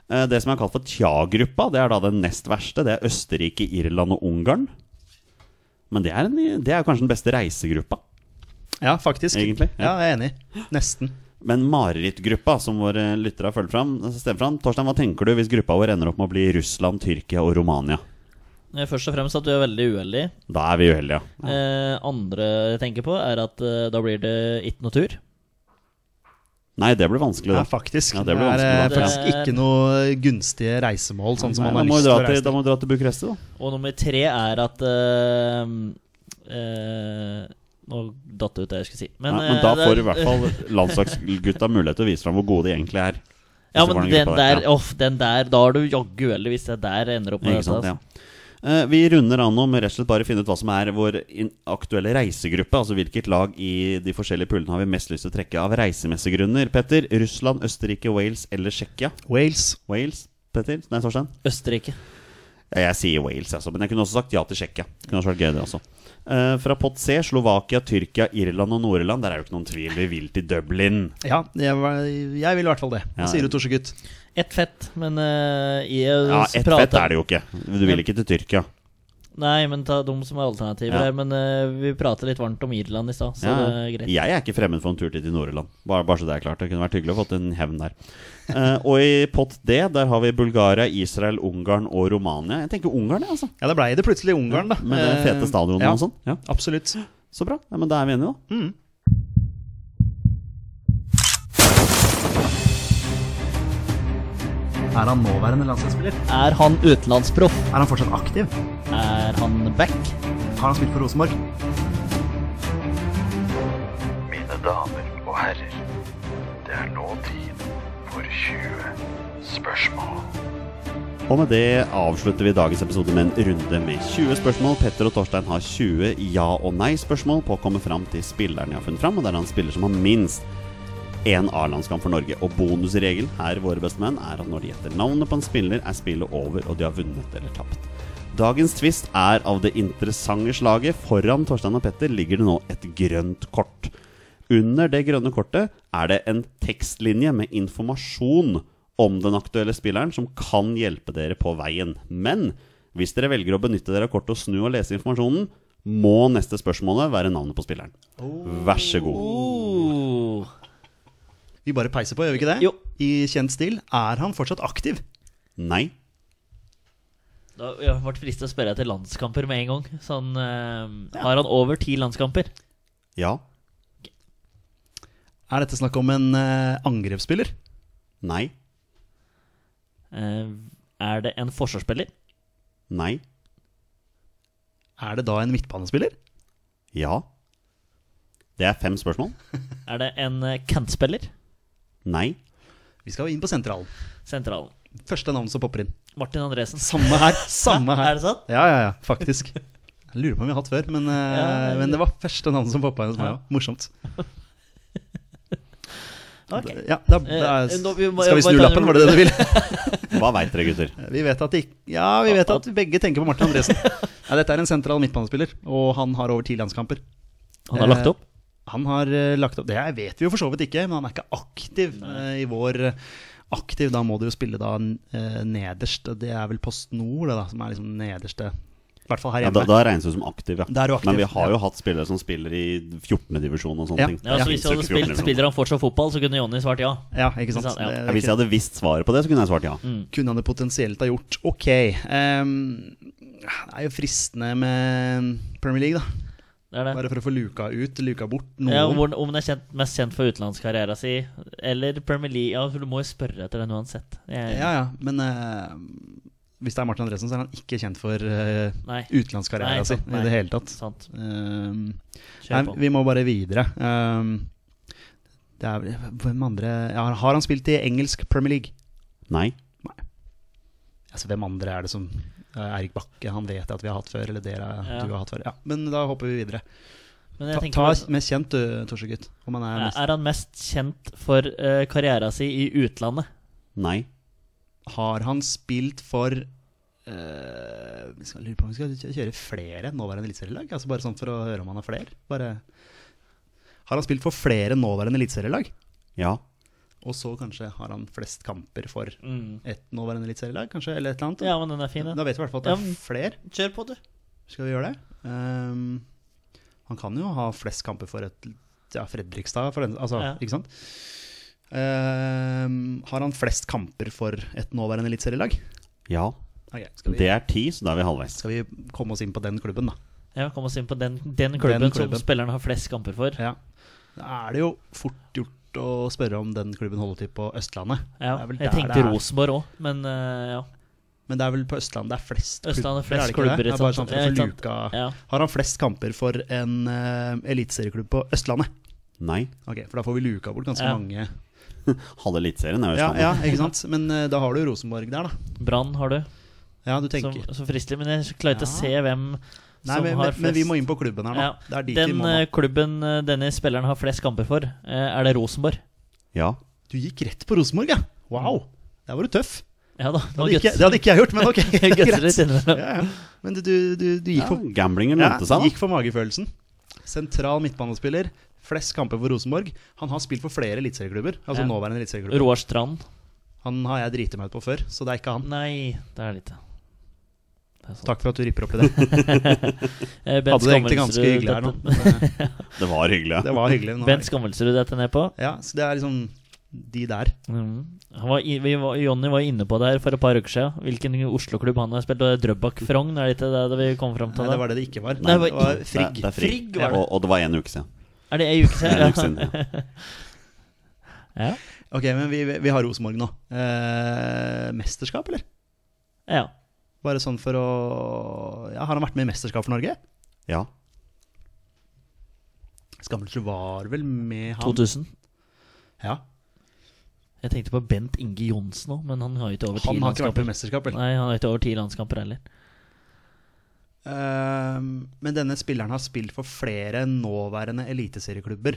A: Eh, Det som er kalt for Tja-gruppa, det er da den nest verste. Det er Østerrike, Irland og Ungarn. Men det er, en, det er kanskje den beste reisegruppa,
C: ja, faktisk.
A: egentlig.
C: Ja, jeg er enig. Nesten.
A: Men marerittgruppa, som våre lyttere har fulgt fram, stemmer fram. Torstein, hva tenker du hvis gruppa vår ender opp med å bli Russland, Tyrkia og Romania?
B: Eh, Først og fremst at du er veldig uheldig.
A: Da er vi uheldige.
B: Eh, andre jeg tenker på, er at eh, da blir det ikke noe tur.
A: Nei, det blir vanskelig, da.
C: Ja, faktisk.
A: Ja, det
C: det,
A: blir
C: er eh,
A: vanskelig, da.
C: faktisk
B: Ja.
C: ikke noe gunstige reisemål, sånn som
A: Nei,
C: man
A: da
C: har
A: må vi
C: lyst til
A: dra
C: å
A: til,
C: reise
A: da
C: til.
A: må vi dra til Bucuresti, da.
B: Og nummer tre er at eh, eh, Nå datt det ut det jeg skulle si.
A: Men, Nei, men da
B: eh, det
A: får
B: er-
A: i hvert fall landslagsgutta mulighet til å vise fram hvor gode de egentlig er.
B: Ja,
A: Hvis det var
B: men
A: den
B: den
A: gruppa
B: der,
A: ja.
B: off, den der Da er du jaggu uheldig hvis det der ender opp med
A: Ikke
B: dette.
A: sant,
B: Altså.
A: ja. Eh, Vi runder an nå med rett og slett bare å finne ut hva som er vår in- aktuelle reisegruppe. Altså hvilket lag i de forskjellige pullene har vi mest lyst til å trekke av reisemessige grunner. Petter, Russland, Østerrike, Wales eller Tsjekkia?
C: Wales.
A: Wales? Petter? Nei, Torstein?
B: Østerrike.
A: Ja, Jeg sier Wales, altså, men jeg kunne også sagt ja til Tsjekkia. Det Kunne også vært gøy, det også. Eh, fra pott C, Slovakia, Tyrkia, Irland og Nord-Irland. Der er jo ikke noen tvil. Vi vil til Dublin.
C: Ja, jeg, var- jeg vil i hvert fall det.
A: Ja.
C: Hva sier du, Torsegutt?
B: Ett fett, men uh, jeg
A: Ja, ett fett er det jo ikke. Du vil ikke til Tyrkia.
B: Nei, men ta de som er alternativer
A: Ja.
B: her. Men eh, vi prater litt varmt om Irland i stad, så
A: Ja,
B: det er greit.
A: Jeg er ikke fremmed for en tur til til Nord-Irland. Bare, bare så det er klart. Det kunne vært hyggelig å fått en hevn der. Eh, og i pott D der har vi Bulgaria, Israel, Ungarn og Romania. Jeg tenker Ungarn, jeg, altså.
C: Ja, da blei det plutselig Ungarn, da. Eh,
A: Med det fete stadionet
C: ja, Mm.
A: og sånn. Ja,
C: Absolutt.
A: så bra. Ja, men da er vi enige, da.
C: Er han nåværende landslagsspiller?
B: Er han utenlandsproff?
C: Er han fortsatt aktiv?
B: Er han back?
C: Har han spilt for Rosenborg?
E: Mine damer og herrer, det er nå tid for 20 spørsmål.
A: Og med det avslutter vi dagens episode med en runde med 20 spørsmål. Petter og Torstein har 20 ja- og nei-spørsmål på å komme fram til spilleren jeg har funnet fram, og det er han spiller som har minst én A-landskamp for Norge. Og bonusregelen her, våre beste menn, er at når de gjetter navnet på en spiller, er spillet over, og de har vunnet eller tapt. Dagens twist er av det interessante slaget. Foran Torstein og Petter ligger det nå et grønt kort. Under det grønne kortet er det en tekstlinje med informasjon om den aktuelle spilleren som kan hjelpe dere på veien. Men hvis dere velger å benytte dere av kortet og snu og lese informasjonen, må neste spørsmålet være navnet på spilleren. Vær så god.
B: Oh.
C: Vi bare peiser på, gjør vi ikke det?
B: Jo.
C: I kjent stil. Er han fortsatt aktiv?
A: Nei.
B: Da jeg ble fristet å spørre etter landskamper med en gang. Sånn, eh, Har han over ti landskamper?
A: Ja.
C: Er dette snakk om en eh, angrepsspiller?
A: Nei.
B: Eh, er det en forsvarsspiller?
A: Nei.
C: Er det da en midtbanespiller?
A: Ja. Det er fem spørsmål.
B: Er det en eh, kantspiller?
A: Nei.
C: Vi skal jo inn på sentralen.
B: Sentralen.
C: Første navn som popper inn.
B: Martin Andresen.
C: Samme her. Samme her.
B: Er det sant?
C: Ja, ja, ja, faktisk. Jeg lurer på om vi har hatt før, men, eh,
B: Ja, ja.
C: men det var første navn som poppa inn hos meg. Ja. Morsomt.
B: Ok.
C: Ja, da, da
B: Eh, nå, vi må-
C: skal vi
B: bare
C: snu
B: ta en
C: lappen, var det det du ville?
A: Hva veit dere, gutter?
C: Vi vet at, de, ja, vi vet at begge tenker på Martin Andresen. Ja, dette er en sentral midtbanespiller, og han har over ti landskamper.
B: Han har lagt opp?
C: Han har eh, lagt opp Det her vet vi jo for så vidt ikke, men han er ikke aktiv eh, i vår eh, aktiv. Da må du jo spille da eh, nederst. og Det er vel Post Nord det da, som er liksom nederste. I hvert fall her
A: Ja, da,
C: hjemme.
A: da regnes du som aktiv, ja.
C: Da er du aktiv,
A: Men vi har
C: ja.
A: jo hatt spillere som spiller i 14. divisjon og sånne
C: Ja.
A: ting.
B: Ja,
A: Det
B: så
A: finnes jo ikke
B: Hvis du hadde
A: 14.
B: spilt
A: divisjon.
B: spiller han fortsatt fotball, så kunne Jonny svart ja.
C: Ja, ikke sant?
B: Ikke sant, ja.
C: Det-
A: Ja, hvis jeg hadde visst svaret på det, så kunne jeg svart ja.
C: kunne han det potensielt ha gjort. Ok. ehm, det er jo fristende med mm, Premier League, da.
B: Det er det.
C: Bare for å få luka ut, luka bort noen.
B: Ja, hvor, om den er kjent, mest kjent for utenlandskarrieren sin, eller Premier League Ja, for du må jo spørre etter den uansett. Jeg,
C: ja, ja, men eh, hvis det er Martin Andresen, så er han ikke kjent for uh,
B: Nei. Nei,
C: utenlandskarrieren sin
B: sant, nei.
C: i det hele tatt.
B: Sant.
C: Um,
B: Kjør
C: nei,
B: på.
C: vi må bare videre. Um, det er, vel- hvem andre ja, Har han spilt i engelsk Premier League?
A: Nei.
C: Altså, hvem andre er det som eh, Erik Bakke, han vet jeg at vi har hatt før. Eller dere
B: Ja.
C: du har hatt før. Ja, men da hopper vi videre.
B: Men
C: Ta,
B: jeg
C: ta
B: tenker
C: mest kjent, du, Torsegutt. Om han er
B: Er,
C: mest
B: er han mest kjent for uh, karriera si i utlandet?
A: Nei.
C: Har han spilt for eh, vi skal lure på om vi skal kjø- kjøre flere nåværende eliteserielag? Altså bare sånn for å høre om han har flere? Bare Har han spilt for flere nåværende eliteserielag?
A: Ja.
C: Og så kanskje har han flest kamper for
B: Mm.
C: et nåværende eliteserielag, kanskje? Eller et eller annet?
B: Ja, men den er fin, den.
C: Da vet vi i hvert fall at det
B: Ja, men-
C: er flere.
B: Kjør på, du.
C: Skal vi gjøre det? Ehm, han kan jo ha flest kamper for et ja, Fredrikstad, for den, altså,
B: Ja.
C: ikke sant? Ehm, har han flest kamper for et nåværende eliteserielag?
A: Ja.
C: Ok, skal,
A: Det
C: vi-
A: er ti, så da er vi halvveis.
C: skal vi komme oss inn på den klubben, da?
B: Ja, Kom oss inn på den, den, klubben
C: klubben.
B: som spilleren har flest kamper for.
C: Ja. Da er det jo fort gjort å spørre om den klubben holder til på Østlandet.
B: Ja,
C: Det er vel
B: jeg
C: der
B: tenkte
C: det er.
B: Rosenborg òg, men eh, ja.
C: Men det er vel på Østlandet det er flest
B: Østlandet
C: klubber? er
B: flest
C: det ikke det?
B: klubber.
C: Det
B: ikke
C: er bare
B: sant?
C: sånn for
B: Ja,
C: å
B: ikke
C: få
B: sant?
C: luka
B: Ja.
C: Har han flest kamper for en uh, eliteserieklubb på Østlandet?
A: Nei.
C: Ok, For da får vi luka bort ganske
B: Ja.
C: mange.
A: Halve Eliteserien er jo
C: Ja,
A: standard.
C: ja, ikke sant? Men eh, da har du Rosenborg der, da.
B: Brann har du,
C: Ja, du
B: som,
C: tenker
B: som fristelig. Men jeg klarer ikke
C: Ja.
B: å se hvem
C: Nei,
B: som
C: men,
B: har
C: men,
B: flest
C: men vi må inn på klubben her nå.
B: Ja.
C: Det er dit vi
B: Den
C: må nå.
B: eh, klubben eh, denne spilleren har flest kamper for, eh, er det Rosenborg.
A: Ja.
C: Du gikk rett på Rosenborg, ja! Wow! Der var du tøff.
B: Ja da,
C: Det
B: Mm. nå
C: hadde, ikke,
B: guts-
C: det hadde ikke jeg gjort, men ok. det er
B: gutser
C: greit.
B: litt innimellom.
C: Ja, ja. Men du, du, du, du
A: ja
C: gikk, for,
A: Gamblingen
C: ja,
A: lønte seg,
C: gikk for magefølelsen. Sentral midtbanespiller. Flest kamper for Rosenborg. Han har spilt for flere eliteserieklubber. Altså
B: Ja.
C: nåværende eliteserieklubber.
B: Roar Strand.
C: Han har jeg driti meg ut på før, så det er ikke han.
B: Nei, det er lite. Det er sant.
C: Takk for at du ripper opp i det.
B: Eh, Bent
C: Hadde det
B: Skammelsrud
C: egentlig ganske hyggelig her nå.
B: dette-
C: men, eh,
A: da. Det var hyggelig.
C: Det var hyggelig. men nå-
B: Bent Skammelsrud dette ned på.
C: Ja, så det er liksom de der.
B: Mm. Han var, i- vi var, Jonny var inne på det her for et par uker siden. Hvilken Oslo-klubb han har spilt. Og det er Drøbak Frogn, er det ikke det, det vi kom fram til?
C: Nei,
B: da?
C: det var det det ikke var.
B: Nei, det
C: det
B: var
C: var Frigg.
A: Det, det er Frigg.
B: Frigg var det.
A: Og, og det var en uke siden.
B: Er det ei uke
A: En uke
B: siden?
A: siden ja.
B: Ja.
C: Ok, men vi, vi har Rosenborg nå. Eh, mesterskap, eller?
B: ja. ja.
C: Bare sånn for å ja, Har han vært med i mesterskap for Norge?
A: ja.
C: Skammelsrud var vel med han
B: 2000.
C: Ja,
B: Jeg tenkte på Bent Inge Johnsen òg, men han har jo ikke over ti
C: Han har ikke vært
B: landskamper.
C: med i mesterskap, vel?
B: Nei, han har ikke over ti landskamper heller.
C: Eh, men denne spilleren har spilt for flere nåværende eliteserieklubber.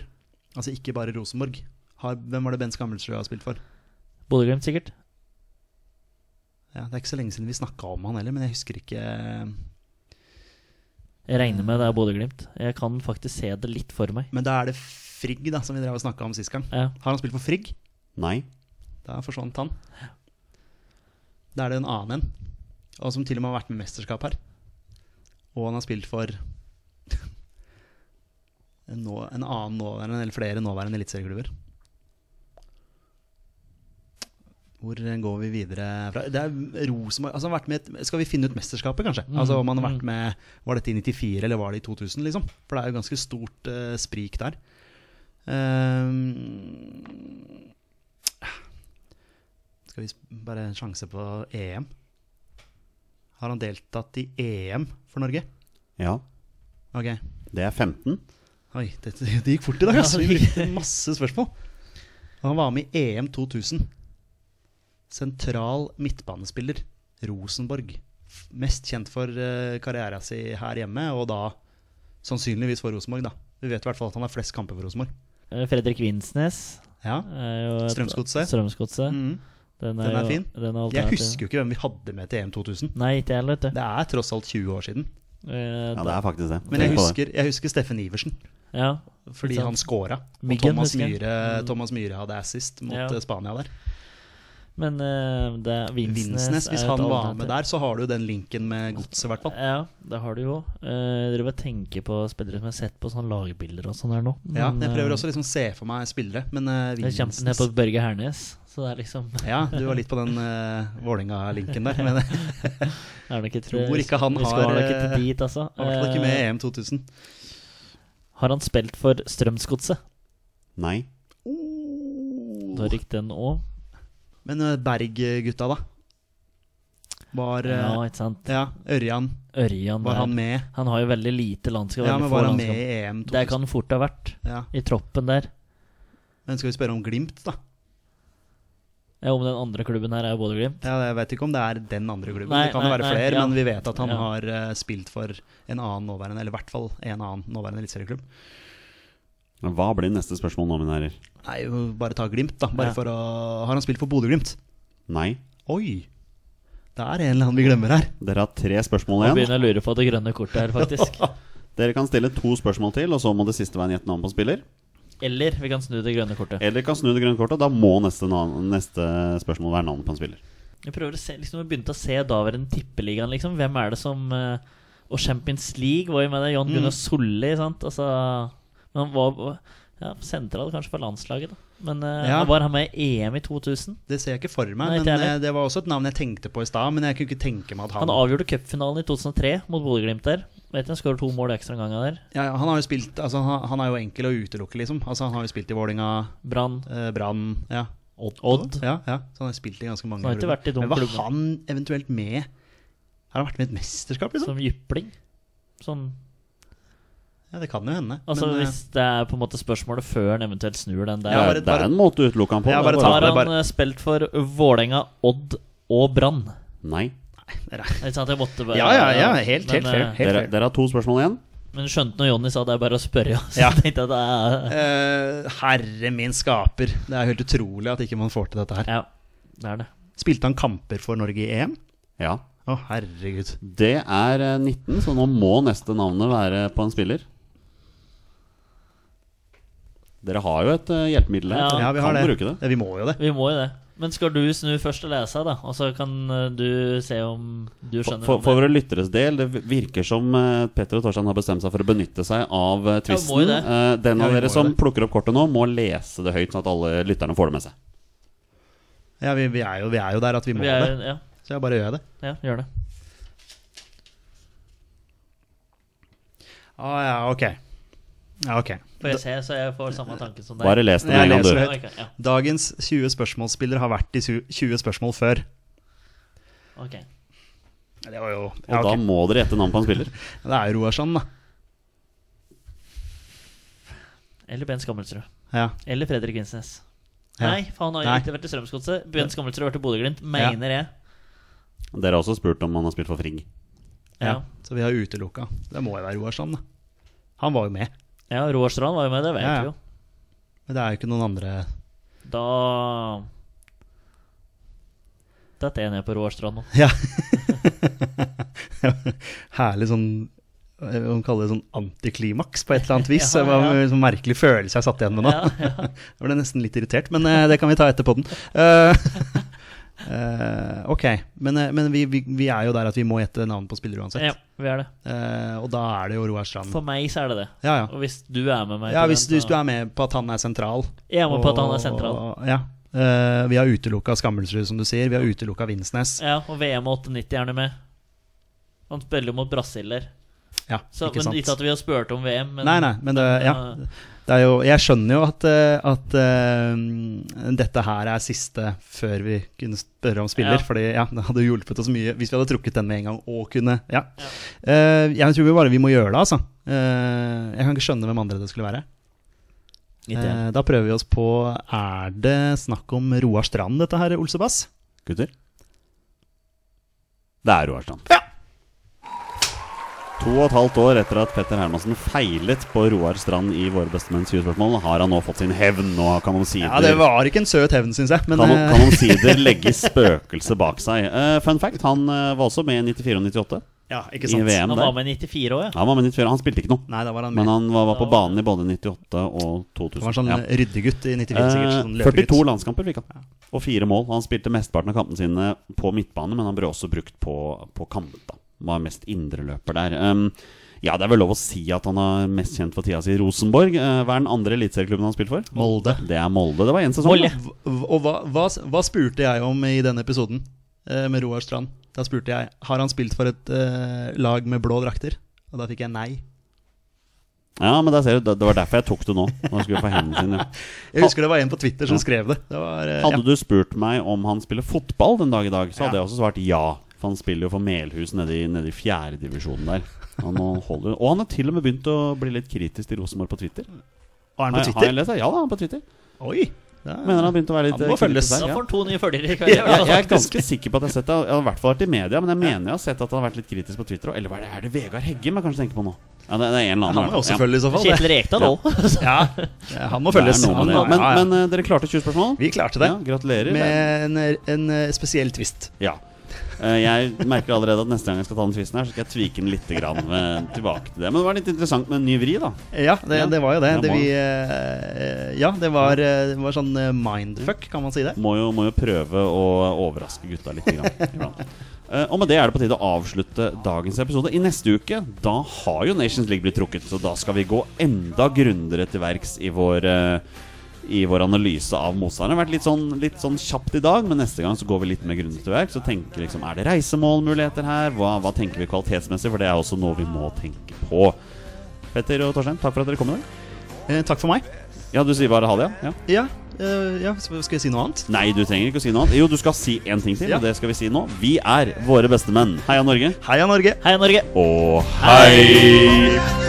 C: Altså ikke bare Rosenborg. Har, hvem var det Bent Skammelsrud har spilt for?
B: Bodø-Glimt, sikkert.
C: Ja, det er ikke så lenge siden vi snakka om han heller, men jeg husker ikke
B: Jeg regner med det er Bodø-Glimt. Jeg kan faktisk se det litt for meg.
C: Men da er det Frigg, da, som vi drev og snakka om sist gang.
B: Ja.
C: Har han spilt for Frigg?
A: Nei.
C: Da forsvant han. Da er det en annen en, og som til og med har vært med i mesterskap her. Og han har spilt for en, nå, en annen nåværende, eller flere nåværende eliteserieklubber. Hvor går vi videre fra? Det er Rosenborg altså, han har vært med, i et- Skal vi finne ut mesterskapet, kanskje? Altså om han har vært med Var dette i 94, eller var det i 2000, liksom? For det er jo ganske stort eh, sprik der. Ehm, skal vi sp- bare en sjanse på EM? Har han deltatt i EM for Norge?
A: Ja.
C: Ok.
A: Det er 15.
C: Oi, det, det gikk fort i dag, altså.
B: Ja,
C: Vi
B: det gikk-
C: brukte masse spørsmål. Han var med i E EM 2000. Sentral midtbanespiller. Rosenborg. F- Mest kjent for eh, karriera si her hjemme, og da sannsynligvis for Rosenborg, da. Vi vet i hvert fall at han har flest kamper for Rosenborg.
B: Eh, Fredrik Vinsnes.
C: Ja.
B: er jo et-
C: Strømsgodset.
B: Strømsgodset.
C: Mhm.
B: Den,
C: Den er
B: jo-
C: fin.
B: Den er
C: Jeg
B: alternativ.
C: husker jo ikke hvem vi hadde med til E EM 2000.
B: Nei, ikke jeg heller, vet du.
C: Det er tross alt 20 år siden.
B: Eh,
A: Ja, det er faktisk det.
C: Men jeg
A: Tenk på det.
C: husker, jeg husker Steffen Iversen.
B: ja.
C: Fordi
B: Ikke sant?
C: han scora. Og
B: Myggen,
C: Thomas
B: husker jeg. Mm.
C: Myhre, Thomas Myhre hadde assist mot
B: Ja.
C: eh, Spania der.
B: Men eh, det er Vinsnes,
C: Vinsnes, hvis
B: er
C: han
B: et
C: var
B: alternativ.
C: med der, så har du den linken med godset, i hvert fall.
B: Ja, det har du jo. Eh, dere bør tenke på spillere som jeg har sett på sånne lagbilder og sånn her nå.
C: Ja,
B: Men,
C: jeg prøver
B: eh,
C: også å liksom se for meg spillere, men eh,
B: Jeg kjemper ned
C: Vinsnes
B: på Børge Hernes, så det er liksom
C: Ja, du var litt på den uh, Vålerenga-linken der. Men eh, jeg
B: det er nok ikke,
C: tror ikke han
B: vi skal
C: har,
B: nok ikke
C: eh,
B: dit, altså.
C: var i hvert fall ikke med E i
B: Eh,
C: EM 2000.
B: har han spilt for Strømsgodset?
A: Nei.
C: Oh.
B: Da rykk den òg.
C: Men eh, Berg-gutta, da? Var eh,
B: Ja, ikke sant.
C: ja, Ørjan,
B: Ørjan
C: var
B: der.
C: han med?
B: Han har jo veldig lite landskap.
C: Ja,
B: veldig
C: men
B: få
C: var han med
B: landskap.
C: i E EM?
B: Det kan fort ha vært
C: Ja.
B: i troppen der.
C: Men skal vi spørre om Glimt, da?
B: Ja, om den andre klubben her er jo Bodø-Glimt.
C: Ja, jeg vet ikke om det er den andre klubben.
B: Nei,
C: det kan
B: nei,
C: jo være
B: nei,
C: flere,
B: ja.
C: men vi vet at han
B: Ja.
C: har eh, spilt for en annen nåværende, eller i hvert fall en annen nåværende eliteserieklubb.
A: Men Hva blir neste spørsmål nå, mine herrer?
C: Nei, jo, bare ta Glimt, da. Bare
B: Ja.
C: for å Har han spilt for Bodø-Glimt?
A: Nei.
C: Oi! Det er en eller annen vi glemmer her.
A: Dere har tre spørsmål
B: Nå
A: igjen.
B: begynner jeg å lure på det grønne kortet her, faktisk.
A: Dere kan stille to spørsmål til, og så må det siste være en gjett navn på spiller.
B: Eller vi kan snu det grønne kortet.
A: Eller kan snu det grønne kortet. Da må neste, navn, neste spørsmål være navnet på en spiller.
B: Jeg prøver å se, liksom, jeg begynte å se daværende tippeligaen, liksom. Hvem er det som eh, Og Champions League var jo med
C: Mm.
B: deg, Jon Gunnar Solli, sant. Altså Men han var ja, sentral kanskje for landslaget, da. Men eh,
C: Ja.
B: han var han med i EM i 2000?
C: Det ser jeg ikke for meg,
B: Nei, ikke
C: men
B: heller.
C: eh, det var også et navn jeg tenkte på i stad. Men jeg kunne ikke tenke meg at
B: Han
C: han
B: avgjorde cupfinalen i 2003 mot Bodø-Glimt der. Vet du, Han skårer to mål ekstraomganger der.
C: ja, ja, Han har jo spilt altså, han, han er jo enkel å utelukke, liksom. Altså, han har jo spilt i Vålinga,
B: Brann,
C: eh, Brann ja.
B: Odd. Odd.
C: Ja, ja, så han har spilt i ganske mange
B: Han har ikke
C: klubber.
B: vært i de
C: Men var
B: klubbene.
C: han eventuelt med Har han vært med i et mesterskap, liksom?
B: Som jypling. Sånn
C: Ja, det kan jo hende.
B: Altså
C: men, eh,
B: Hvis det er på en måte spørsmålet før han eventuelt snur den
A: Det
B: der
C: Ja,
A: er,
C: bare-
A: det er en måte å utelukke han på.
C: Ja,
A: det er bare-
C: bare ta-
B: Har han
C: bare-
B: eh, spilt for Vålerenga, Odd og Brann?
A: Nei.
B: Ikke sant, sånn jeg måtte bare
C: Ja, ja, ja, helt,
B: men,
C: helt fair.
B: eh,
C: Helt
A: Dere,
C: fair.
A: dere har to spørsmål igjen.
B: Men skjønte når Jonny sa det er bare å spørre, ja. Så
C: Ja.
B: tenkte jeg at det er
C: Eh, herre min skaper. Det er jo helt utrolig at ikke man får til dette her.
B: Ja, det er det.
C: Spilte han kamper for Norge i EM?
A: Ja.
C: Å, herregud.
A: Det er eh, 19, så nå må neste navnet være på en spiller. Dere har jo et eh, hjelpemiddel her.
B: Ja.
A: så
C: Ja, vi har
A: kan
C: det.
A: bruke det.
C: Ja, vi må jo det.
B: Vi må jo det. Men skal du snu først og lese, da? Og så kan eh, du se om du
A: For,
B: skjønner
A: for, for
B: om det.
A: våre lytteres del, det virker som eh, Petter og Torstein har bestemt seg for å benytte seg av eh,
B: Ja, må
A: tvisten.
B: jo det.
A: Eh, Den
C: Ja,
A: av
C: vi må
A: dere
C: jo
A: som
C: det.
A: plukker opp kortet nå, må lese det høyt, sånn at alle lytterne får det med seg.
C: Ja, vi, vi, er, jo, vi er jo der at vi må
B: Vi er,
C: det.
B: ja,
C: Så jeg bare gjør det.
B: ja, gjør det.
C: Å ja, ok. Ja, ok.
B: Får jeg se, så jeg får samme tanke som deg?
A: Bare les det
C: Jeg
A: med en gang,
C: leser
A: du.
C: det.
B: Ok, ja.
C: Dagens 20 spørsmålsspiller har vært i su- 20 spørsmål før.
B: ok.
C: Det var jo
A: Og
C: ja, ok.
A: da må dere gjette navn på en spiller.
C: Det er jo Roarsson, da.
B: Eller Ben Skammelsrud.
C: Ja.
B: Eller Fredrik Vinsnes.
C: Ja.
B: Nei, for han har jo
C: Nei.
B: ikke vært i Strømsgodset. Ben Skammelsrud har vært i Bodø-Glimt, mener jeg.
A: Dere har også spurt om han har spilt for Frigg.
B: Ja.
C: Ja. Så vi har utelukka. Det må jo være Roarsson, da. Han var jo med.
B: ja, Roar Strand var jo med, det vet
C: Ja, ja.
B: vi jo.
C: Men det er jo ikke noen andre
B: Da Dette er jeg ned på Roar Strand nå.
C: Ja. Herlig sånn eh, Hva man kaller det sånn antiklimaks på et eller annet vis.
B: Ja,
C: Det var
B: ja.
C: en sånn merkelig følelse jeg satt igjen med nå.
B: Ja, ja.
C: Jeg ble nesten litt irritert, men eh, det kan vi ta etter podden. Eh, eh, ok, men, eh, men vi, vi, vi er jo der at vi må gjette navnet på spiller uansett.
B: ja, vi er det.
C: Eh, og da er det jo Roar Strand.
B: For meg så er det det.
C: Ja, ja.
B: Og hvis du er med meg
C: ja
B: på
C: hvis,
B: den,
C: hvis du er med på at han er sentral.
B: Jeg er med på at han
C: og-
B: er sentral.
C: og- Ja. Eh, vi har utelukka Skammelsrud, som du sier. Vi har utelukka Vinsnes.
B: Ja, og VM 98 er han jo med. Han spiller jo mot brasiller.
C: Ja,
B: Så,
C: ikke
B: men
C: sant?
B: ikke at vi har spurt om VM, men eh,
C: Nei, nei, men det, ja. Eh, det er jo Jeg skjønner jo at, eh, at eh, dette her er siste før vi kunne spørre om spiller.
B: Ja.
C: Fordi ja, det hadde jo hjulpet oss mye hvis vi hadde trukket den med en gang og kunne Ja. Eh, jeg tror vi bare vi må gjøre det, altså. Eh, jeg kan ikke skjønne hvem andre det skulle være.
B: Ikke jeg.
C: Eh, da prøver vi oss på Er det snakk om Roar Strand, dette her, Olsebass?
A: Gutter? Det er Roar Strand. To og et halvt år etter at Petter Hermansen feilet på Roar Strand i Våre bestemenns 20-spørsmål, har han nå fått sin hevn. Nå kan omsider,
C: Ja, det var ikke en søt hevn, syns jeg. Men
A: kan,
C: eh,
A: kan omsider legge spøkelset bak seg. Eh, fun fact, han eh, var også med i 94 og 98
C: ja, ikke
A: i
C: sant.
A: VM
B: Han
A: der.
B: var med i 94 òg, ja.
A: Ja, Han var med i 94, han spilte ikke noe,
C: Nei, da var han med.
A: men han var, var på
B: Da var-
A: banen i både 98 og 2000.
C: han var sånn
A: ja.
C: eh, ryddegutt i 94, sikkert. Sånn
A: Eh,
C: løpegutt.
A: 42 landskamper fikk han. Og fire mål. Han spilte mesteparten av kampene sine på midtbane, men han ble også brukt på, på kanta. Var mest indreløper der. Um, ja, det er vel lov å si at han er mest kjent for tida si i Rosenborg. Eh, hva er den andre eliteserieklubben han har spilt for?
C: Molde.
A: Det er Molde. Det var én sesong. da.
C: V- Og hva, hva, hva spurte jeg om i denne episoden eh, med Roar Strand? Da spurte jeg har han spilt for et eh, lag med blå drakter. Og da fikk jeg nei.
A: Ja, men der ser du, det, det var derfor jeg tok det nå. Når jeg skulle få hendene sine.
C: Jeg husker det var en på Twitter som skrev det. det var, eh,
A: Hadde du spurt meg om han spiller fotball den dag i dag, så hadde jeg også svart ja. For For han spiller jo for Melhus nede i, nede i fjerdedivisjonen der. Han nå holder, og han har til og med begynt å bli litt kritisk til Rosenborg på Twitter.
C: Og er han
A: Har
C: på
A: jeg- Har jeg
C: Twitter?
A: lest det? Ja da, han er på Twitter.
C: Oi! det er-
A: Mener han har begynt å være litt
F: Han må
A: eh, kritisk
F: følges.
A: der,
B: Da
A: ja.
B: får han to nye følgere i
A: Jeg, jeg,
B: kveld.
A: er ganske sikker på at jeg har sett det. Jeg har i hvert fall vært i media, men jeg mener jeg har sett at han har vært litt kritisk på Twitter. også. Eller hva er det, er det Vegard Heggem jeg kanskje tenker på nå? Ja, det, det er en eller
F: Han
A: annen. i
F: må jo
A: hvert
F: også
A: fall.
F: følge i så fall.
B: Kjetil Rekdal òg.
F: Ja. Ja, Han må
A: Ja, det
F: følges.
A: er noe
F: Han,
A: med det.
F: må-
A: Men,
F: ja, ja.
A: men eh, dere klarte 20 spørsmål?
F: vi klarte det.
A: Ja, gratulerer.
C: Med en, en eh, spesiell twist.
A: Ja. Eh, Jeg merker allerede at neste gang jeg skal ta den tvisten her, så skal jeg tvike den litt grann eh, tilbake til det. Men det var litt interessant med en ny vri, da.
C: Ja, det,
A: Ja.
C: det var jo det.
A: Ja,
C: det
A: må-
C: vi, eh, ja, det var, eh, det var sånn eh, mindfuck, kan man si det?
A: Må jo, må jo prøve å overraske gutta litt. Grann, iblant. Eh, og med det er det på tide å avslutte dagens episode. I neste uke da har jo Nations League blitt trukket, så da skal vi gå enda grundigere til verks i vår eh, i vår analyse av motstanderen. Det har Vært litt sånn, litt sånn kjapt i dag, men neste gang så går vi litt mer grundig til verks. og tenker liksom, Er det reisemålmuligheter her? Hva, hva tenker vi kvalitetsmessig? For det er også noe vi må tenke på. Petter og Torstein, takk for at dere kom i dag.
C: Eh, takk for meg.
A: Ja, du sier bare ha det, ja? ja?
C: Ja, eh, ja, skal skal jeg si noe annet?
A: Nei, du trenger ikke å si noe annet. Jo, du skal si én ting til,
C: Ja.
A: og det skal vi si nå. Vi er våre beste menn. Heia Norge.
C: Heia Norge!
B: Heia Norge!
A: Og hei!